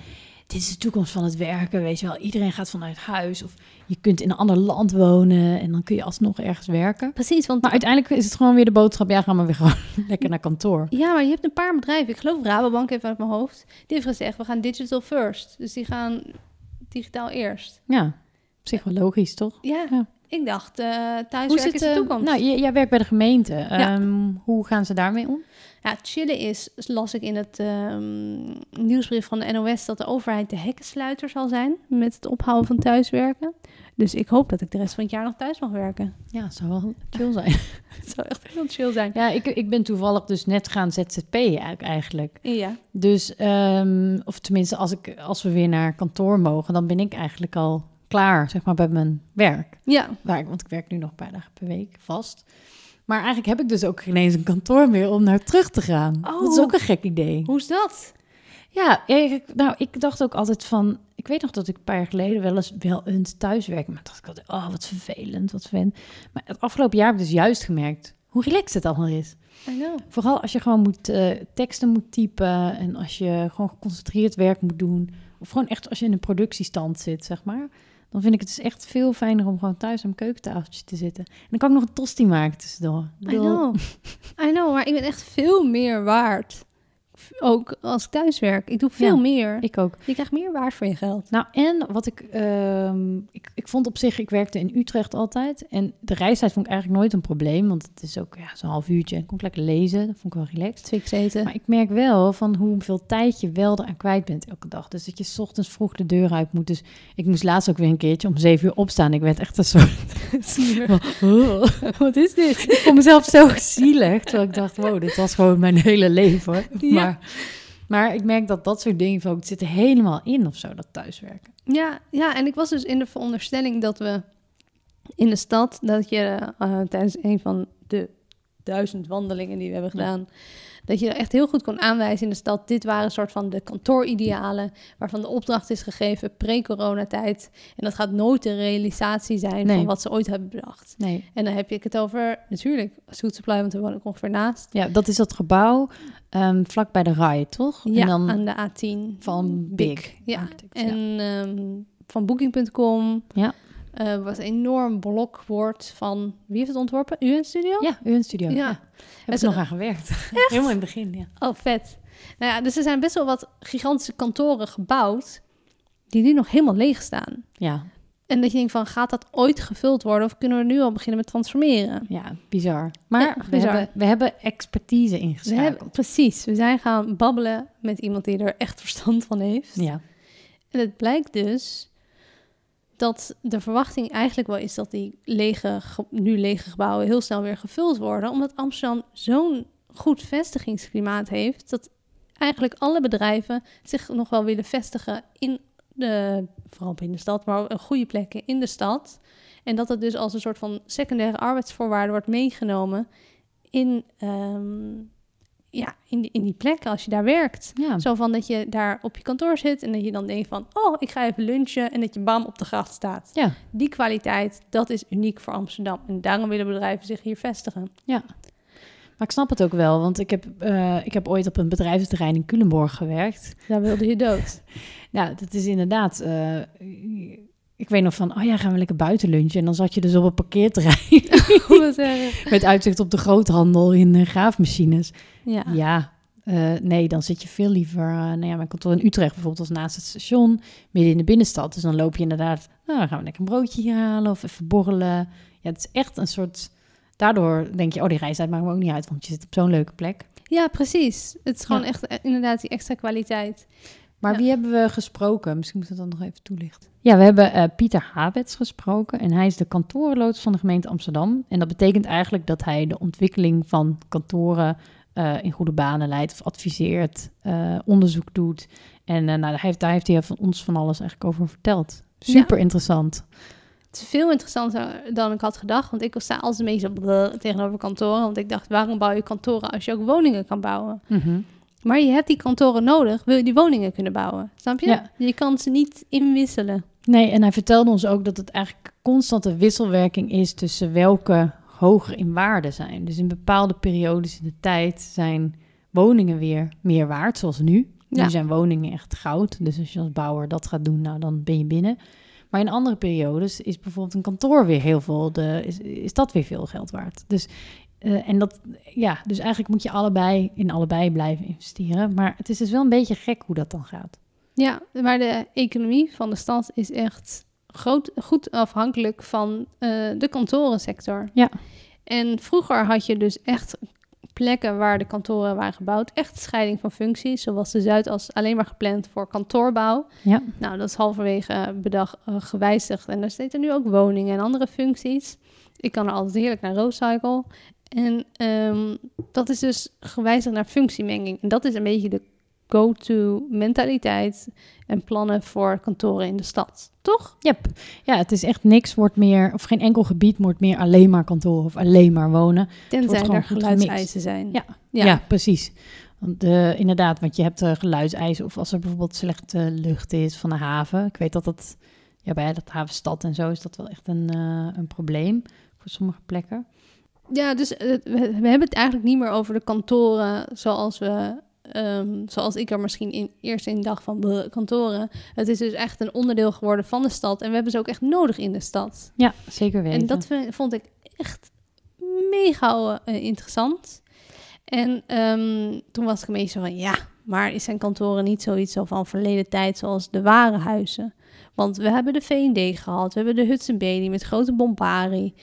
[SPEAKER 2] dit is de toekomst van het werken, weet je wel, iedereen gaat vanuit huis, of je kunt in een ander land wonen en dan kun je alsnog ergens werken.
[SPEAKER 3] Precies, want
[SPEAKER 2] Maar uiteindelijk is het gewoon weer de boodschap, ja, ga maar weer gewoon lekker naar kantoor.
[SPEAKER 3] Ja, maar je hebt een paar bedrijven. Ik geloof Rabobank even uit mijn hoofd. Die heeft gezegd, we gaan digital first. Dus die gaan digitaal eerst.
[SPEAKER 2] Ja, psychologisch toch?
[SPEAKER 3] Ja,
[SPEAKER 2] Ja.
[SPEAKER 3] ik dacht, eh thuiswerk is de
[SPEAKER 2] eh,
[SPEAKER 3] toekomst.
[SPEAKER 2] Nou, j- jij werkt bij de gemeente.
[SPEAKER 3] Ja.
[SPEAKER 2] Ehm, hoe gaan ze daarmee om?
[SPEAKER 3] ja, chillen is, las ik in het ehm, nieuwsbrief van de NOS... dat de overheid de hekkensluiter zal zijn met het ophouden van thuiswerken. Dus ik hoop dat ik de rest van het jaar nog thuis mag werken.
[SPEAKER 2] Ja, het zou wel chill zijn.
[SPEAKER 3] Het zou echt heel chill zijn.
[SPEAKER 2] ja, ik, ik ben toevallig dus net gaan ZZP'en eigenlijk.
[SPEAKER 3] Ja,
[SPEAKER 2] Dus, ehm, of tenminste, als, ik, als we weer naar kantoor mogen, dan ben ik eigenlijk al klaar, zeg maar, bij mijn werk.
[SPEAKER 3] ja.
[SPEAKER 2] Waar ik, want ik werk nu nog een paar dagen per week vast. Maar eigenlijk heb ik dus ook geen eens een kantoor meer om naar terug te gaan. Dat is
[SPEAKER 3] Oh.
[SPEAKER 2] ook een gek idee.
[SPEAKER 3] hoe is dat?
[SPEAKER 2] Ja, ik, nou, ik dacht ook altijd van... Ik weet nog dat ik een paar jaar geleden wel eens wel eens thuiswerk. Maar dacht ik altijd, oh, wat vervelend, wat vervelend. Maar het afgelopen jaar heb ik dus juist gemerkt hoe relaxed het allemaal is.
[SPEAKER 3] I know.
[SPEAKER 2] Vooral als je gewoon moet, eh, teksten moet typen en als je gewoon geconcentreerd werk moet doen. Of gewoon echt als je in een productiestand zit, zeg maar. Dan vind ik het dus echt veel fijner om gewoon thuis aan mijn keukentafeltje te zitten. En dan kan ik nog een tosti maken tussendoor. Ik
[SPEAKER 3] I
[SPEAKER 2] bedoel,
[SPEAKER 3] know. I know, maar ik ben echt veel meer waard. Ook als ik thuis werk. Ik doe veel
[SPEAKER 2] Ja.
[SPEAKER 3] meer.
[SPEAKER 2] Ik ook.
[SPEAKER 3] Je krijgt meer waard voor je geld.
[SPEAKER 2] Nou, en wat ik, ehm, ik... Ik vond op zich, ik werkte in Utrecht altijd. En de reistijd vond ik eigenlijk nooit een probleem. Want het is ook ja, zo'n half uurtje. En ik kon ik lekker lezen. Dat vond ik wel relaxed.
[SPEAKER 3] Twix eten.
[SPEAKER 2] Maar ik merk wel van hoeveel tijd je wel eraan kwijt bent elke dag. Dus dat je 's ochtends vroeg de deur uit moet. Dus ik moest laatst ook weer een keertje om zeven uur opstaan. Ik werd echt een soort... "Oh,
[SPEAKER 3] Wat is dit?
[SPEAKER 2] ik vond mezelf zo zielig. Terwijl ik dacht, wow, dit was gewoon mijn hele leven. Hoor.
[SPEAKER 3] Ja.
[SPEAKER 2] Maar, maar ik merk dat dat soort dingen van, het zit er helemaal in of zo, dat thuiswerken.
[SPEAKER 3] Ja, ja, en ik was dus in de veronderstelling dat we in de stad, dat je eh, tijdens een van de duizend wandelingen die we hebben gedaan, dat je echt heel goed kon aanwijzen in de stad, dit waren een soort van de kantooridealen, waarvan de opdracht is gegeven pre-coronatijd. En dat gaat nooit de realisatie zijn
[SPEAKER 2] Nee.
[SPEAKER 3] van wat ze ooit hebben bedacht.
[SPEAKER 2] Nee.
[SPEAKER 3] En dan heb ik het over, natuurlijk, Soet Supply, want daar woon ik ongeveer naast.
[SPEAKER 2] Ja, dat is dat gebouw ehm, vlak bij de RAI, toch?
[SPEAKER 3] Ja,
[SPEAKER 2] en dan
[SPEAKER 3] aan de A10.
[SPEAKER 2] van Big.
[SPEAKER 3] Ja,
[SPEAKER 2] Architects,
[SPEAKER 3] en ehm, van Booking.com.
[SPEAKER 2] Ja.
[SPEAKER 3] Eh, wat een enorm blokwoord van... Wie heeft het ontworpen? UN Studio?
[SPEAKER 2] Ja, u in studio.
[SPEAKER 3] Ja.
[SPEAKER 2] Ja. Heb
[SPEAKER 3] Het-
[SPEAKER 2] ik nog aan gewerkt. Helemaal in het begin, ja.
[SPEAKER 3] Oh, vet. Nou ja, dus er zijn best wel wat gigantische kantoren gebouwd... die nu nog helemaal leeg staan.
[SPEAKER 2] Ja,
[SPEAKER 3] En dat je denkt van, gaat dat ooit gevuld worden... of kunnen we nu al beginnen met transformeren?
[SPEAKER 2] Ja, bizar. Maar
[SPEAKER 3] Ja,
[SPEAKER 2] We,
[SPEAKER 3] bizar.
[SPEAKER 2] hebben, we hebben expertise
[SPEAKER 3] We
[SPEAKER 2] ingeschakeld.
[SPEAKER 3] hebben, precies, we zijn gaan babbelen met iemand die er echt verstand van heeft.
[SPEAKER 2] Ja.
[SPEAKER 3] En het blijkt dus dat de verwachting eigenlijk wel is dat die lege, ge- nu lege gebouwen heel snel weer gevuld worden. Omdat Amsterdam zo'n goed vestigingsklimaat heeft. Dat eigenlijk alle bedrijven zich nog wel willen vestigen in de, vooral binnen de stad, maar ook goede plekken in de stad. En dat het dus als een soort van secundaire arbeidsvoorwaarde wordt meegenomen in, ehm, ja, in, die- in die plekken als je daar werkt.
[SPEAKER 2] ja.
[SPEAKER 3] Zo van dat je daar op je kantoor zit en dat je dan denkt van... oh, ik ga even lunchen en dat je bam op de gracht staat.
[SPEAKER 2] Ja.
[SPEAKER 3] Die kwaliteit, dat is uniek voor Amsterdam. En daarom willen bedrijven zich hier vestigen.
[SPEAKER 2] Maar ik snap het ook wel, want ik heb, eh, ik heb ooit op een bedrijventerrein in Culemborg gewerkt.
[SPEAKER 3] Daar wilde je dood.
[SPEAKER 2] Nou, dat is inderdaad... eh, ik weet nog van, oh ja, gaan we lekker buiten lunchen. En dan zat je dus op een parkeerterrein
[SPEAKER 3] Hoe het zeggen.
[SPEAKER 2] met uitzicht op de groothandel in eh, graafmachines.
[SPEAKER 3] Ja.
[SPEAKER 2] Ja, eh, nee, dan zit je veel liever... eh, nou ja, mijn kantoor in Utrecht bijvoorbeeld was naast het station, midden in de binnenstad. Dus dan loop je inderdaad, nou, dan gaan we lekker een broodje hier halen of even borrelen. Ja, het is echt een soort... Daardoor denk je, oh, die reistijd maakt me ook niet uit, want je zit op zo'n leuke plek.
[SPEAKER 3] ja, precies. Het is gewoon
[SPEAKER 2] Ja.
[SPEAKER 3] echt eh, inderdaad die extra kwaliteit.
[SPEAKER 2] Maar
[SPEAKER 3] Ja.
[SPEAKER 2] wie hebben we gesproken? Misschien moeten we dat dan nog even toelichten. Ja, we hebben eh, Pieter Habets gesproken en hij is de kantorenloods van de gemeente Amsterdam. En dat betekent eigenlijk dat hij de ontwikkeling van kantoren eh, in goede banen leidt of adviseert, eh, onderzoek doet. En eh, nou, hij heeft, daar heeft hij van ons van alles eigenlijk over verteld. Super interessant.
[SPEAKER 3] Het is veel interessanter dan ik had gedacht. Want ik sta als de meeste bleh tegenover kantoren. Want ik dacht, waarom bouw je kantoren als je ook woningen kan bouwen?
[SPEAKER 2] Mhm.
[SPEAKER 3] Maar je hebt die kantoren nodig, wil je die woningen kunnen bouwen. Snap je?
[SPEAKER 2] Ja.
[SPEAKER 3] Je kan ze niet inwisselen.
[SPEAKER 2] Nee, en hij vertelde ons ook dat het eigenlijk constante wisselwerking is tussen welke hoger in waarde zijn. Dus in bepaalde periodes in de tijd zijn woningen weer meer waard, zoals nu.
[SPEAKER 3] Ja.
[SPEAKER 2] Nu zijn woningen echt goud. Dus als je als bouwer dat gaat doen, nou dan ben je binnen. Maar in andere periodes is bijvoorbeeld een kantoor weer heel veel, de, is, is dat weer veel geld waard. Dus, eh, en dat, ja, dus eigenlijk moet je allebei in allebei blijven investeren. Maar het is dus wel een beetje gek hoe dat dan gaat.
[SPEAKER 3] Ja, maar de economie van de stad is echt groot, goed afhankelijk van eh, de kantorensector.
[SPEAKER 2] Ja.
[SPEAKER 3] En vroeger had je dus echt plekken waar de kantoren waren gebouwd. Echt scheiding van functies. Zoals de Zuidas alleen maar gepland voor kantoorbouw.
[SPEAKER 2] Ja.
[SPEAKER 3] Nou, dat is halverwege bedag eh, gewijzigd. En daar zitten nu ook woningen en andere functies. Ik kan er altijd heerlijk naar Roadcycle. En ehm, dat is dus gewijzigd naar functiemenging. En dat is een beetje de go-to mentaliteit en plannen voor kantoren in de stad. Toch?
[SPEAKER 2] Yep. Ja, het is echt niks wordt meer, of geen enkel gebied wordt meer alleen maar kantoor of alleen maar wonen.
[SPEAKER 3] Tenzij
[SPEAKER 2] gewoon
[SPEAKER 3] er
[SPEAKER 2] goed gemixt.
[SPEAKER 3] geluidseisen zijn.
[SPEAKER 2] Ja.
[SPEAKER 3] Ja.
[SPEAKER 2] precies. Want de, inderdaad, want je hebt eh geluidseis of als er bijvoorbeeld slechte lucht is van de haven. Ik weet dat dat ja, bij dat havenstad en zo is dat wel echt een, eh, een probleem voor sommige plekken.
[SPEAKER 3] Ja, dus eh, we, we hebben het eigenlijk niet meer over de kantoren zoals we. ehm, zoals ik er misschien in, eerst in dacht van "Bleh, kantoren. Het is dus echt een onderdeel geworden van de stad. En we hebben ze ook echt nodig in de stad.
[SPEAKER 2] Ja, zeker weten.
[SPEAKER 3] En dat vind- vond ik echt mega eh, interessant. En ehm, toen was ik een beetje zo van, ja, maar is zijn kantoren niet zoiets zo van verleden tijd zoals de ware huizen? Want we hebben de V&D gehad, we hebben de Hudson Bailey met grote bombari.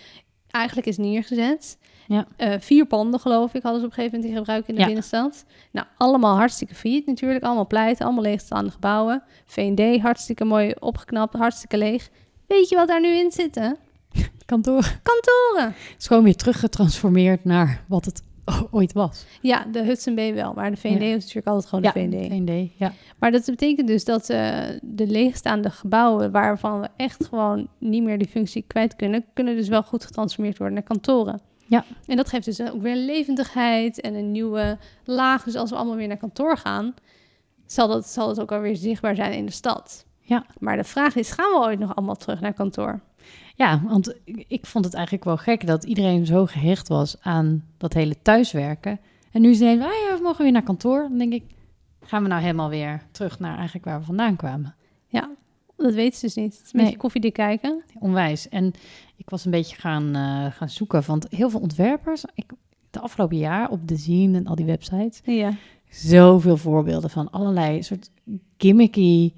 [SPEAKER 3] Eigenlijk is neergezet.
[SPEAKER 2] Ja.
[SPEAKER 3] Eh, vier panden, geloof ik, hadden ze op een gegeven moment in gebruik in de
[SPEAKER 2] Ja.
[SPEAKER 3] binnenstad. Nou, allemaal hartstikke failliet natuurlijk. Allemaal pleiten, allemaal leegstaande gebouwen. V&D hartstikke mooi opgeknapt, hartstikke leeg. Weet je wat daar nu in zitten?
[SPEAKER 2] kantoor.
[SPEAKER 3] Kantoren!
[SPEAKER 2] Het is gewoon weer teruggetransformeerd naar wat het o- ooit was.
[SPEAKER 3] Ja, de Hudson Bay wel, maar de V&D
[SPEAKER 2] Ja.
[SPEAKER 3] Oh, is natuurlijk altijd gewoon de V&D.
[SPEAKER 2] VND, ja.
[SPEAKER 3] Maar dat betekent dus dat eh, de leegstaande gebouwen waarvan we echt gewoon niet meer die functie kwijt kunnen, kunnen dus wel goed getransformeerd worden naar kantoren.
[SPEAKER 2] Ja.
[SPEAKER 3] En dat geeft dus ook weer levendigheid en een nieuwe laag. Dus als we allemaal weer naar kantoor gaan, zal dat, zal dat ook alweer zichtbaar zijn in de stad.
[SPEAKER 2] Ja.
[SPEAKER 3] Maar de vraag is, gaan we ooit nog allemaal terug naar kantoor?
[SPEAKER 2] Ja, want ik- ik vond het eigenlijk wel gek dat iedereen zo gehecht was aan dat hele thuiswerken. En nu is ineens, ah ja, we mogen weer naar kantoor. Dan denk ik, gaan we nou helemaal weer terug naar eigenlijk waar we vandaan kwamen.
[SPEAKER 3] Dat weten ze dus niet. Het is een beetje
[SPEAKER 2] Nee.
[SPEAKER 3] koffiedik kijken.
[SPEAKER 2] Onwijs. En ik was een beetje gaan, eh, gaan zoeken, want heel veel ontwerpers, ik, de afgelopen jaar op de zine en al die websites,
[SPEAKER 3] Ja.
[SPEAKER 2] zoveel voorbeelden van allerlei soort gimmicky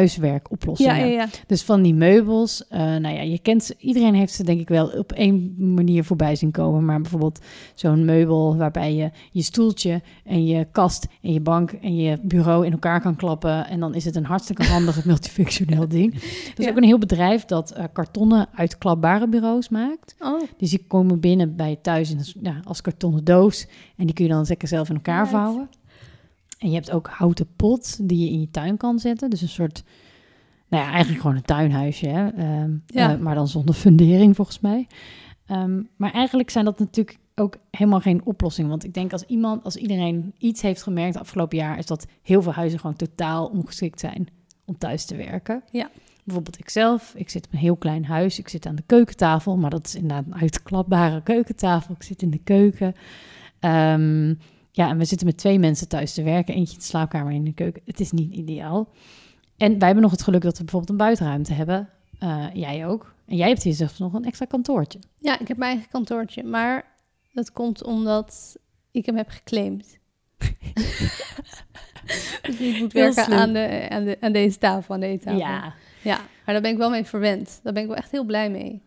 [SPEAKER 3] Ja,
[SPEAKER 2] thuiswerkoplossingen.
[SPEAKER 3] ja, ja.
[SPEAKER 2] Dus van die meubels, eh, nou ja, je kent ze, iedereen heeft ze denk ik wel op één manier voorbij zien komen. Maar bijvoorbeeld zo'n meubel waarbij je je stoeltje en je kast en je bank en je bureau in elkaar kan klappen. En dan is het een hartstikke handig multifunctioneel ding. Er is
[SPEAKER 3] Ja.
[SPEAKER 2] ook een heel bedrijf dat eh, kartonnen uitklapbare bureaus maakt.
[SPEAKER 3] Oh,
[SPEAKER 2] Dus die komen binnen bij je thuis in, een s- ja, als kartonnen doos. En die kun je dan zeker zelf in elkaar
[SPEAKER 3] Right.
[SPEAKER 2] vouwen. En je hebt ook houten pot die je in je tuin kan zetten. Dus een soort, nou ja, eigenlijk gewoon een tuinhuisje. Hè? Ehm,
[SPEAKER 3] Ja.
[SPEAKER 2] eh, maar dan zonder fundering volgens mij. Ehm, maar eigenlijk zijn dat natuurlijk ook helemaal geen oplossing. Want ik denk als iemand, als iedereen iets heeft gemerkt afgelopen jaar, is dat heel veel huizen gewoon totaal ongeschikt zijn om thuis te werken.
[SPEAKER 3] Ja.
[SPEAKER 2] Bijvoorbeeld ikzelf, ik zit op een heel klein huis, ik zit aan de keukentafel, maar dat is inderdaad een uitklapbare keukentafel. Ik zit in de keuken. Ehm, ja, en we zitten met twee mensen thuis te werken, eentje in de slaapkamer en in de keuken. Het is niet ideaal. En wij hebben nog het geluk dat we bijvoorbeeld een buitenruimte hebben. Eh, jij ook. En jij hebt hier zelfs nog een extra kantoortje.
[SPEAKER 3] Ja, ik heb mijn eigen kantoortje, maar dat komt omdat ik hem heb geclaimd. dus ik moet
[SPEAKER 2] Heel
[SPEAKER 3] werken
[SPEAKER 2] slim.
[SPEAKER 3] aan, de, aan, de, aan deze tafel, aan deze tafel.
[SPEAKER 2] Ja,
[SPEAKER 3] ja, maar daar ben ik wel mee verwend. Daar ben ik wel echt heel blij mee.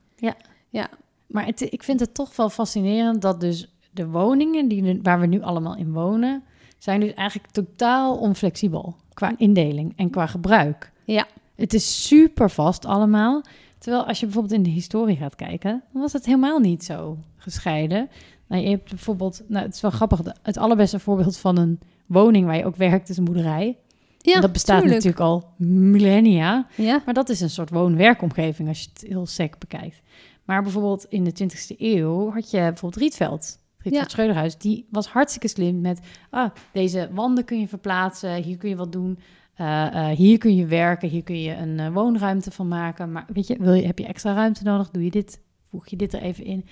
[SPEAKER 2] maar het, ik vind het toch wel fascinerend dat dus de woningen die, nu- waar we nu allemaal in wonen, zijn dus eigenlijk totaal onflexibel qua indeling en qua gebruik.
[SPEAKER 3] Ja.
[SPEAKER 2] Het is super vast allemaal. Terwijl als je bijvoorbeeld in de historie gaat kijken, dan was het helemaal niet zo gescheiden. Nou, je hebt bijvoorbeeld, nou, het is wel grappig, de- het allerbeste voorbeeld van een woning waar je ook werkt is een boerderij.
[SPEAKER 3] Ja,
[SPEAKER 2] En dat bestaat
[SPEAKER 3] tuurlijk.
[SPEAKER 2] natuurlijk al millennia.
[SPEAKER 3] Ja,
[SPEAKER 2] Maar dat is een soort woon-werkomgeving als je het heel sec bekijkt. Maar bijvoorbeeld in de 20e eeuw had je bijvoorbeeld Rietveld. Rietveld
[SPEAKER 3] Ja.
[SPEAKER 2] Schreuderhuis, die was hartstikke slim met... Ah, deze wanden kun je verplaatsen, hier kun je wat doen. eh, eh, hier kun je werken, hier kun je een eh, woonruimte van maken. Maar weet je, wil je, heb je extra ruimte nodig? Doe je dit, voeg je dit er even in.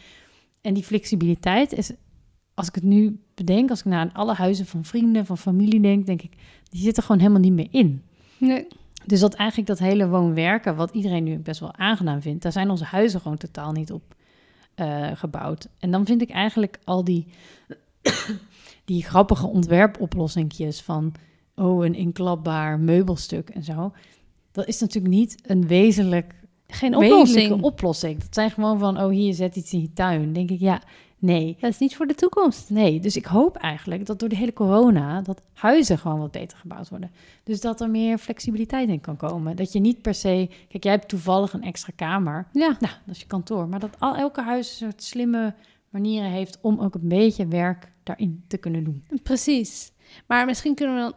[SPEAKER 2] En die flexibiliteit is, als ik het nu bedenk... als ik naar alle huizen van vrienden, van familie denk... denk ik, die zitten gewoon helemaal niet meer in.
[SPEAKER 3] nee,
[SPEAKER 2] Dus dat eigenlijk dat hele woon-werken, wat iedereen nu best wel aangenaam vindt, daar zijn onze huizen gewoon totaal niet op eh, gebouwd. En dan vind ik eigenlijk al die, die grappige ontwerpoplossingjes van, oh, een inklapbaar meubelstuk en zo. Dat is natuurlijk niet een wezenlijk
[SPEAKER 3] geen
[SPEAKER 2] wezenlijke
[SPEAKER 3] oplossing.
[SPEAKER 2] oplossing. Dat zijn gewoon van, oh, hier zet iets in je tuin. Dan denk ik, ja, nee.
[SPEAKER 3] Dat is niet voor de toekomst.
[SPEAKER 2] Nee, dus ik hoop eigenlijk dat door de hele corona dat huizen gewoon wat beter gebouwd worden. Dus dat er meer flexibiliteit in kan komen. Dat je niet per se, kijk, jij hebt toevallig een extra kamer,
[SPEAKER 3] Ja,
[SPEAKER 2] nou, dat is je kantoor, maar dat al elke huis een soort slimme manieren heeft om ook een beetje werk daarin te kunnen doen.
[SPEAKER 3] precies. Maar misschien kunnen we dan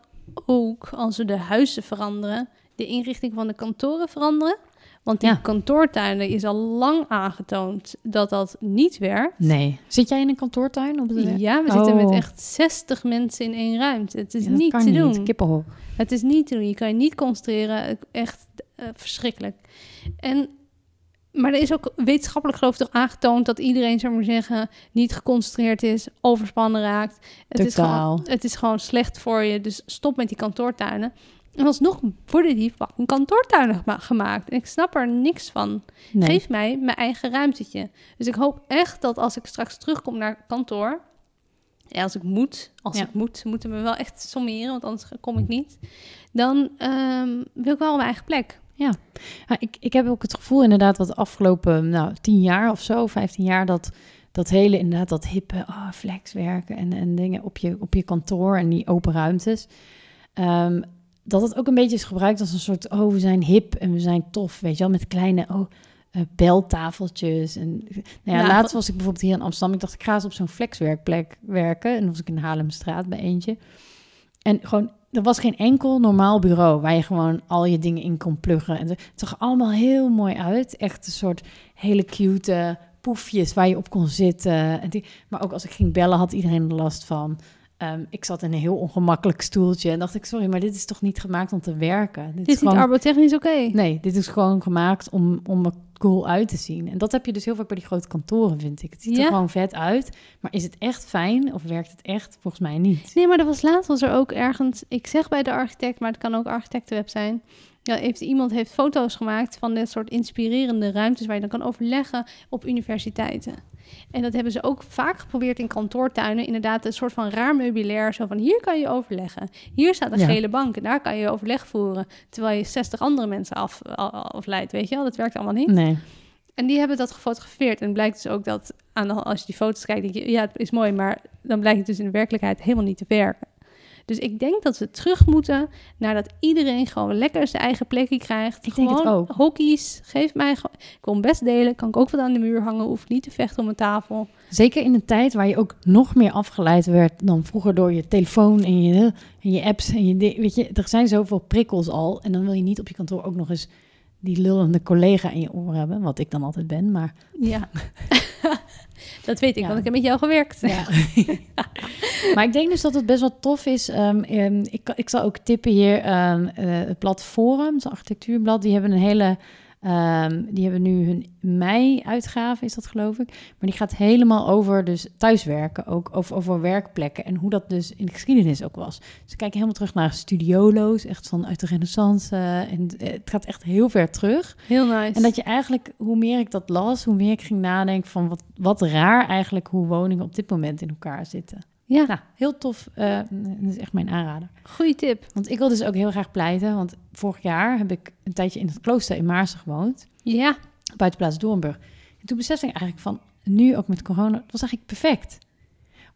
[SPEAKER 3] ook, als we de huizen veranderen, de inrichting van de kantoren veranderen. Want die
[SPEAKER 2] Ja.
[SPEAKER 3] kantoortuinen is al lang aangetoond dat dat niet werkt.
[SPEAKER 2] Nee. Zit jij in een kantoortuin? Op de...
[SPEAKER 3] Ja, we zitten met
[SPEAKER 2] Oh.
[SPEAKER 3] echt 60 mensen in één ruimte. Het is
[SPEAKER 2] Ja, dat
[SPEAKER 3] niet
[SPEAKER 2] kan
[SPEAKER 3] te doen.
[SPEAKER 2] Kippenhok.
[SPEAKER 3] Het is niet te doen. Je kan je niet concentreren. Echt eh, verschrikkelijk. En, maar er is ook wetenschappelijk geloof ik toch aangetoond dat iedereen, zou ik maar zeggen, niet geconcentreerd is, overspannen raakt. Het is
[SPEAKER 2] Totaal.
[SPEAKER 3] gewoon, het is gewoon slecht voor je. Dus stop met die kantoortuinen. En alsnog worden die fucking kantoortuinen gema- gemaakt. En ik snap er niks van.
[SPEAKER 2] Nee.
[SPEAKER 3] Geef mij mijn eigen ruimtetje. Dus ik hoop echt dat als ik straks terugkom naar kantoor. Ja, als ik moet, als
[SPEAKER 2] Ja. Hm.
[SPEAKER 3] ik moet, ze moeten me wel echt sommeren, want anders kom ik niet. Dan ehm, wil ik wel mijn eigen plek.
[SPEAKER 2] Ja, ik, ik heb ook het gevoel inderdaad wat de afgelopen nou, tien jaar of zo, 15 jaar, dat dat hele inderdaad dat hippe ah, flex werken en, en dingen op je, op je kantoor en die open ruimtes. ehm, dat het ook een beetje is gebruikt als een soort, oh we zijn hip en we zijn tof, weet je wel, met kleine oh, eh, beltafeltjes. En, nou ja,
[SPEAKER 3] Ja,
[SPEAKER 2] laatst
[SPEAKER 3] wat-
[SPEAKER 2] was ik bijvoorbeeld hier in Amsterdam, ik dacht ik ga eens op zo'n flexwerkplek werken. En dan was ik in de Haarlemstraat bij eentje. En gewoon, er was geen enkel normaal bureau waar je gewoon al je dingen in kon pluggen. En het zag er allemaal heel mooi uit. Echt een soort hele cute eh, poefjes waar je op kon zitten. En die, maar ook als ik ging bellen had iedereen er last van. Ehm, ik zat in een heel ongemakkelijk stoeltje en dacht ik, sorry, maar dit is toch niet gemaakt om te werken? Dit,
[SPEAKER 3] Dit is niet arbotechnisch oké.
[SPEAKER 2] Nee, dit is gewoon gemaakt om, om er cool uit te zien. En dat heb je dus heel vaak bij die grote kantoren, vind ik. Het ziet
[SPEAKER 3] Ja.
[SPEAKER 2] er gewoon vet uit, maar is het echt fijn of werkt het echt? Volgens mij niet.
[SPEAKER 3] Nee, maar er was laatst was er ook ergens, ik zeg bij de architect, maar het kan ook architectenweb zijn. Ja, heeft, iemand heeft foto's gemaakt van dit soort inspirerende ruimtes waar je dan kan overleggen op universiteiten. En dat hebben ze ook vaak geprobeerd in kantoortuinen. Inderdaad, een soort van raar meubilair. Zo van hier kan je overleggen. Hier staat een
[SPEAKER 2] Ja.
[SPEAKER 3] gele bank en daar kan je overleg voeren. Terwijl je 60 andere mensen af, af- afleidt. Weet je wel, dat werkt allemaal niet.
[SPEAKER 2] Nee.
[SPEAKER 3] En die hebben dat gefotografeerd. En blijkt dus ook dat aan de, als je die foto's kijkt, denk je, ja, het is mooi, maar dan blijkt het dus in de werkelijkheid helemaal niet te werken. Dus ik denk dat we terug moeten naar dat iedereen gewoon lekker zijn eigen plekje krijgt.
[SPEAKER 2] Ik denk het
[SPEAKER 3] Gewoon
[SPEAKER 2] ook.
[SPEAKER 3] Hokkies, geef mij. gewoon- Ik wil hem best delen. Kan ik ook wat aan de muur hangen. Hoef niet te vechten om een tafel.
[SPEAKER 2] Zeker in een tijd waar je ook nog meer afgeleid werd dan vroeger door je telefoon en je, en je apps. En je, di- weet je, er zijn zoveel prikkels al. En dan wil je niet op je kantoor ook nog eens die lullende collega in je oor hebben. Wat ik dan altijd ben, maar...
[SPEAKER 3] Ja. dat weet ik,
[SPEAKER 2] Ja.
[SPEAKER 3] want ik heb met jou gewerkt.
[SPEAKER 2] Ja. maar ik denk dus dat het best wel tof is. Ehm, ehm, ik, kan- ik zal ook tippen hier. ehm, eh, het blad Forum, het architectuurblad, die hebben een hele. ehm, die hebben nu hun mei-uitgave, is dat geloof ik. Maar die gaat helemaal over dus thuiswerken, ook over, over werkplekken en hoe dat dus in de geschiedenis ook was. Ze kijken helemaal terug naar studiolo's, echt vanuit de renaissance. eh, en eh, het gaat echt heel ver terug.
[SPEAKER 3] Heel nice.
[SPEAKER 2] En dat je eigenlijk, hoe meer ik dat las, hoe meer ik ging nadenken van wat, wat raar eigenlijk hoe woningen op dit moment in elkaar zitten.
[SPEAKER 3] Ja,
[SPEAKER 2] Nou, heel tof. eh, dat is echt mijn aanrader.
[SPEAKER 3] goede tip.
[SPEAKER 2] Want ik wil dus ook heel graag pleiten, want vorig jaar heb ik een tijdje in het klooster in Maarsen gewoond,
[SPEAKER 3] Ja,
[SPEAKER 2] buitenplaats Doornburg. En toen besefte ik eigenlijk van, nu ook met corona, het was eigenlijk perfect.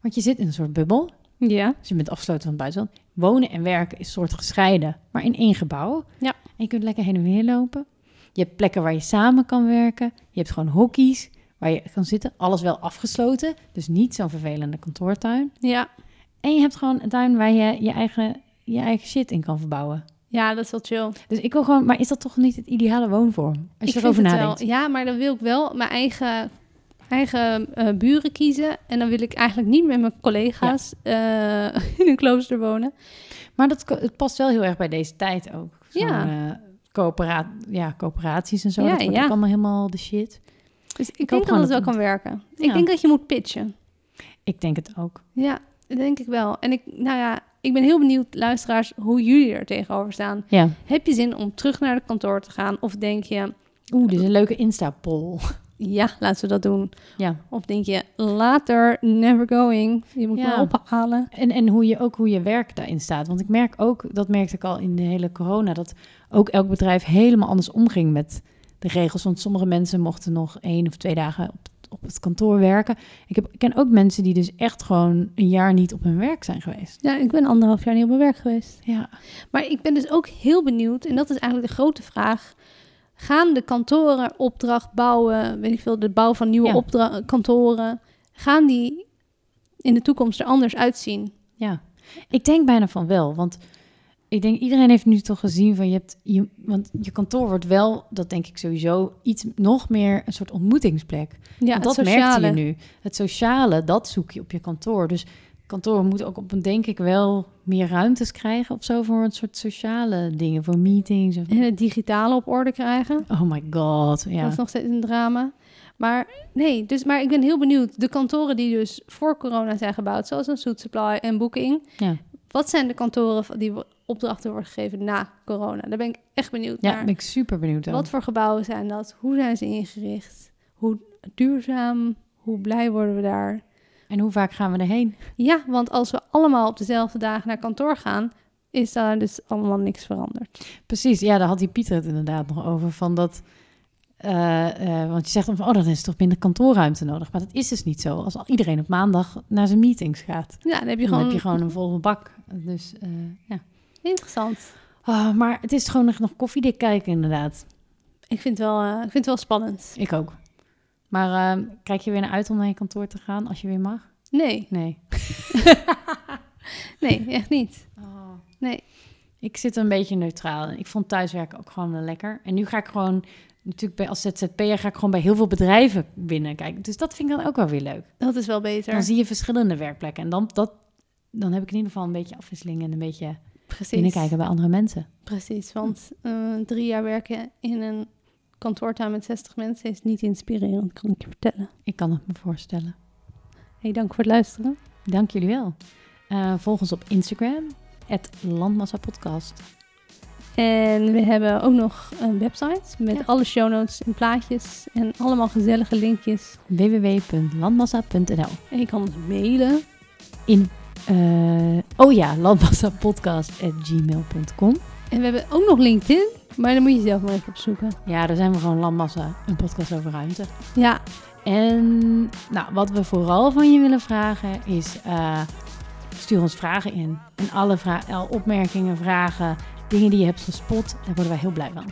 [SPEAKER 2] Want je zit in een soort bubbel,
[SPEAKER 3] ja.
[SPEAKER 2] dus je bent afgesloten van het buitenland. Wonen en werken is soort gescheiden, maar in één gebouw.
[SPEAKER 3] Ja.
[SPEAKER 2] En je kunt lekker heen en weer lopen. Je hebt plekken waar je samen kan werken. Je hebt gewoon hokkies waar je kan zitten. Alles wel afgesloten, dus niet zo'n vervelende kantoortuin.
[SPEAKER 3] ja.
[SPEAKER 2] En je hebt gewoon een tuin waar je je eigen, je eigen shit in kan verbouwen.
[SPEAKER 3] Ja, dat is wel chill.
[SPEAKER 2] Dus ik wil gewoon, maar is dat toch niet het ideale woonvorm? Als je
[SPEAKER 3] Ik
[SPEAKER 2] erover
[SPEAKER 3] vind het
[SPEAKER 2] nadenkt.
[SPEAKER 3] wel. Ja, maar dan wil ik wel mijn eigen, eigen eh, buren kiezen. En dan wil ik eigenlijk niet met mijn collega's eh, in een klooster wonen.
[SPEAKER 2] Maar dat ko- het past wel heel erg bij deze tijd ook. Zo'n,
[SPEAKER 3] Ja.
[SPEAKER 2] eh, coöpera- ja, coöperaties en zo.
[SPEAKER 3] Ja,
[SPEAKER 2] dat wordt
[SPEAKER 3] ja.
[SPEAKER 2] ook allemaal helemaal de shit.
[SPEAKER 3] Dus ik, denk
[SPEAKER 2] hoop
[SPEAKER 3] dat
[SPEAKER 2] gewoon
[SPEAKER 3] het wel
[SPEAKER 2] dat
[SPEAKER 3] kan werken. Ik
[SPEAKER 2] Ja.
[SPEAKER 3] denk dat je moet pitchen.
[SPEAKER 2] Ik denk het ook.
[SPEAKER 3] Ja, dat denk ik wel. En ik, nou ja, ik ben heel benieuwd, luisteraars, hoe jullie er tegenover staan.
[SPEAKER 2] Ja.
[SPEAKER 3] Heb je zin om terug naar het kantoor te gaan? Of denk je,
[SPEAKER 2] Oeh, dit is een leuke Insta-poll.
[SPEAKER 3] ja, laten we dat doen.
[SPEAKER 2] Ja.
[SPEAKER 3] Of denk je, later, never going. Je moet
[SPEAKER 2] Ja.
[SPEAKER 3] me ophalen.
[SPEAKER 2] En, en hoe je, ook hoe je werk daarin staat. Want ik merk ook, dat merkte ik al in de hele corona, dat ook elk bedrijf helemaal anders omging met de regels. Want sommige mensen mochten nog één of twee dagen op, op het kantoor werken. Ik, heb, ik ken ook mensen die dus echt gewoon een jaar niet op hun werk zijn geweest.
[SPEAKER 3] Ja, ik ben anderhalf jaar niet op mijn werk geweest.
[SPEAKER 2] Ja,
[SPEAKER 3] Maar ik ben dus ook heel benieuwd, en dat is eigenlijk de grote vraag. Gaan de kantoren opdracht bouwen, weet ik veel, de bouw van nieuwe
[SPEAKER 2] Ja.
[SPEAKER 3] opdra- kantoren, gaan die in de toekomst er anders uitzien?
[SPEAKER 2] ja. Ik denk bijna van wel, want ik denk iedereen heeft nu toch gezien van je hebt, je, want je kantoor wordt wel, dat denk ik sowieso, iets nog meer een soort ontmoetingsplek.
[SPEAKER 3] Ja,
[SPEAKER 2] Want
[SPEAKER 3] het
[SPEAKER 2] dat
[SPEAKER 3] sociale.
[SPEAKER 2] merkte je nu. Het sociale, dat zoek je op je kantoor. Dus kantoren moeten ook op een, denk ik wel, meer ruimtes krijgen of zo voor een soort sociale dingen, voor meetings. Of...
[SPEAKER 3] En het digitale op orde krijgen.
[SPEAKER 2] Oh my god, ja.
[SPEAKER 3] Dat is nog steeds een drama. Maar nee, dus, maar ik ben heel benieuwd. De kantoren die dus voor corona zijn gebouwd, zoals een Suit Supply en Booking.
[SPEAKER 2] Ja.
[SPEAKER 3] Wat zijn de kantoren van- die wo- opdrachten worden gegeven na corona? Daar ben ik echt benieuwd
[SPEAKER 2] Ja,
[SPEAKER 3] naar.
[SPEAKER 2] ben ik super benieuwd
[SPEAKER 3] Wat
[SPEAKER 2] naar.
[SPEAKER 3] voor gebouwen zijn dat? Hoe zijn ze ingericht? Hoe duurzaam? Hoe blij worden we daar?
[SPEAKER 2] En hoe vaak gaan we erheen?
[SPEAKER 3] Ja, want als we allemaal op dezelfde dag naar kantoor gaan, is daar dus allemaal niks veranderd.
[SPEAKER 2] Precies, ja, daar had die Pieter het inderdaad nog over. Van dat, eh, eh, want je zegt dan van, oh, dan is toch minder kantoorruimte nodig. Maar dat is dus niet zo. Als al- iedereen op maandag naar zijn meetings gaat,
[SPEAKER 3] Ja, dan heb je
[SPEAKER 2] dan
[SPEAKER 3] gewoon
[SPEAKER 2] heb je gewoon een volle bak. Dus eh, ja.
[SPEAKER 3] interessant.
[SPEAKER 2] Ah, maar het is gewoon echt nog koffiedik kijken, inderdaad.
[SPEAKER 3] Ik vind het wel, eh, ik vind het wel spannend.
[SPEAKER 2] Ik ook. Maar eh, kijk je weer naar uit om naar je kantoor te gaan als je weer mag?
[SPEAKER 3] Nee,
[SPEAKER 2] Nee.
[SPEAKER 3] nee, echt niet.
[SPEAKER 2] Oh.
[SPEAKER 3] Nee.
[SPEAKER 2] Ik zit een beetje neutraal. Ik vond thuiswerken ook gewoon wel lekker. En nu ga ik gewoon, natuurlijk bij, als ZZP'er ga ik gewoon bij heel veel bedrijven binnenkijken. Dus dat vind ik dan ook wel weer leuk.
[SPEAKER 3] Dat is wel beter.
[SPEAKER 2] Dan zie je verschillende werkplekken. En dan, dat, dan heb ik in ieder geval een beetje afwisseling en een beetje
[SPEAKER 3] Precies.
[SPEAKER 2] binnenkijken bij andere mensen.
[SPEAKER 3] Precies, want eh, drie jaar werken in een kantoortuin met 60 mensen is niet inspirerend, kan ik je vertellen.
[SPEAKER 2] Ik kan het me voorstellen.
[SPEAKER 3] Hey, dank voor het luisteren.
[SPEAKER 2] Dank jullie wel. Eh volg ons op Instagram, het Landmassa Podcast.
[SPEAKER 3] En we hebben ook nog een website met
[SPEAKER 2] Ja.
[SPEAKER 3] alle show notes en plaatjes en allemaal gezellige linkjes.
[SPEAKER 2] www.landmassa.nl
[SPEAKER 3] En je kan ons mailen.
[SPEAKER 2] in eh, oh ja, landmassapodcast.gmail.com.
[SPEAKER 3] En we hebben ook nog LinkedIn, maar daar moet je zelf maar even op zoeken.
[SPEAKER 2] Ja, daar zijn we gewoon Landmassa, een podcast over ruimte.
[SPEAKER 3] Ja,
[SPEAKER 2] En nou, wat we vooral van je willen vragen is: eh, stuur ons vragen in. En alle vra- eh, opmerkingen, vragen, dingen die je hebt gespot, daar worden wij heel blij van.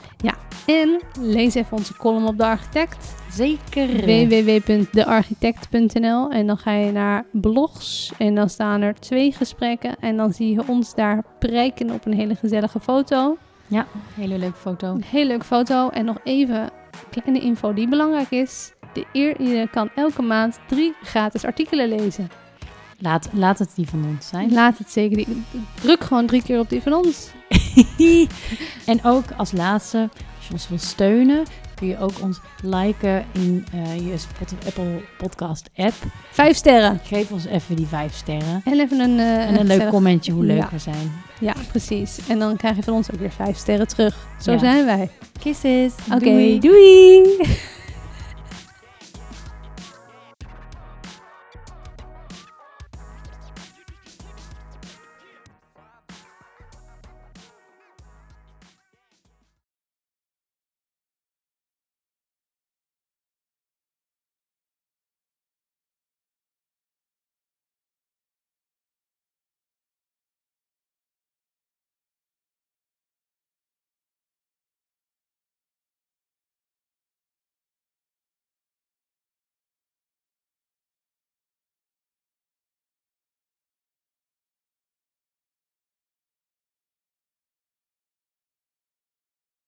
[SPEAKER 3] en lees even onze column op De Architect.
[SPEAKER 2] Zeker.
[SPEAKER 3] www.dearchitect.nl en dan ga je naar blogs en dan staan er twee gesprekken en dan zie je ons daar prijken op een hele gezellige foto.
[SPEAKER 2] Ja, hele leuke foto.
[SPEAKER 3] Een heel leuke foto en nog even kleine info die belangrijk is. De eer, je kan elke maand drie gratis artikelen lezen.
[SPEAKER 2] Laat, laat het die van ons zijn.
[SPEAKER 3] Laat het zeker. Die, druk gewoon drie keer op die van ons.
[SPEAKER 2] en ook als laatste, als je ons wil steunen, kun je ook ons liken in eh, je Spotify, Apple Podcast app.
[SPEAKER 3] Vijf sterren.
[SPEAKER 2] Geef ons even die vijf sterren.
[SPEAKER 3] En even een, eh,
[SPEAKER 2] En een leuk
[SPEAKER 3] gezellig-
[SPEAKER 2] commentje hoe leuk
[SPEAKER 3] Ja.
[SPEAKER 2] we zijn.
[SPEAKER 3] Ja, precies. En dan krijg je van ons ook weer vijf sterren terug. Zo
[SPEAKER 2] Ja.
[SPEAKER 3] zijn wij.
[SPEAKER 2] Kisses.
[SPEAKER 3] Oké,
[SPEAKER 2] Doei.
[SPEAKER 3] doei.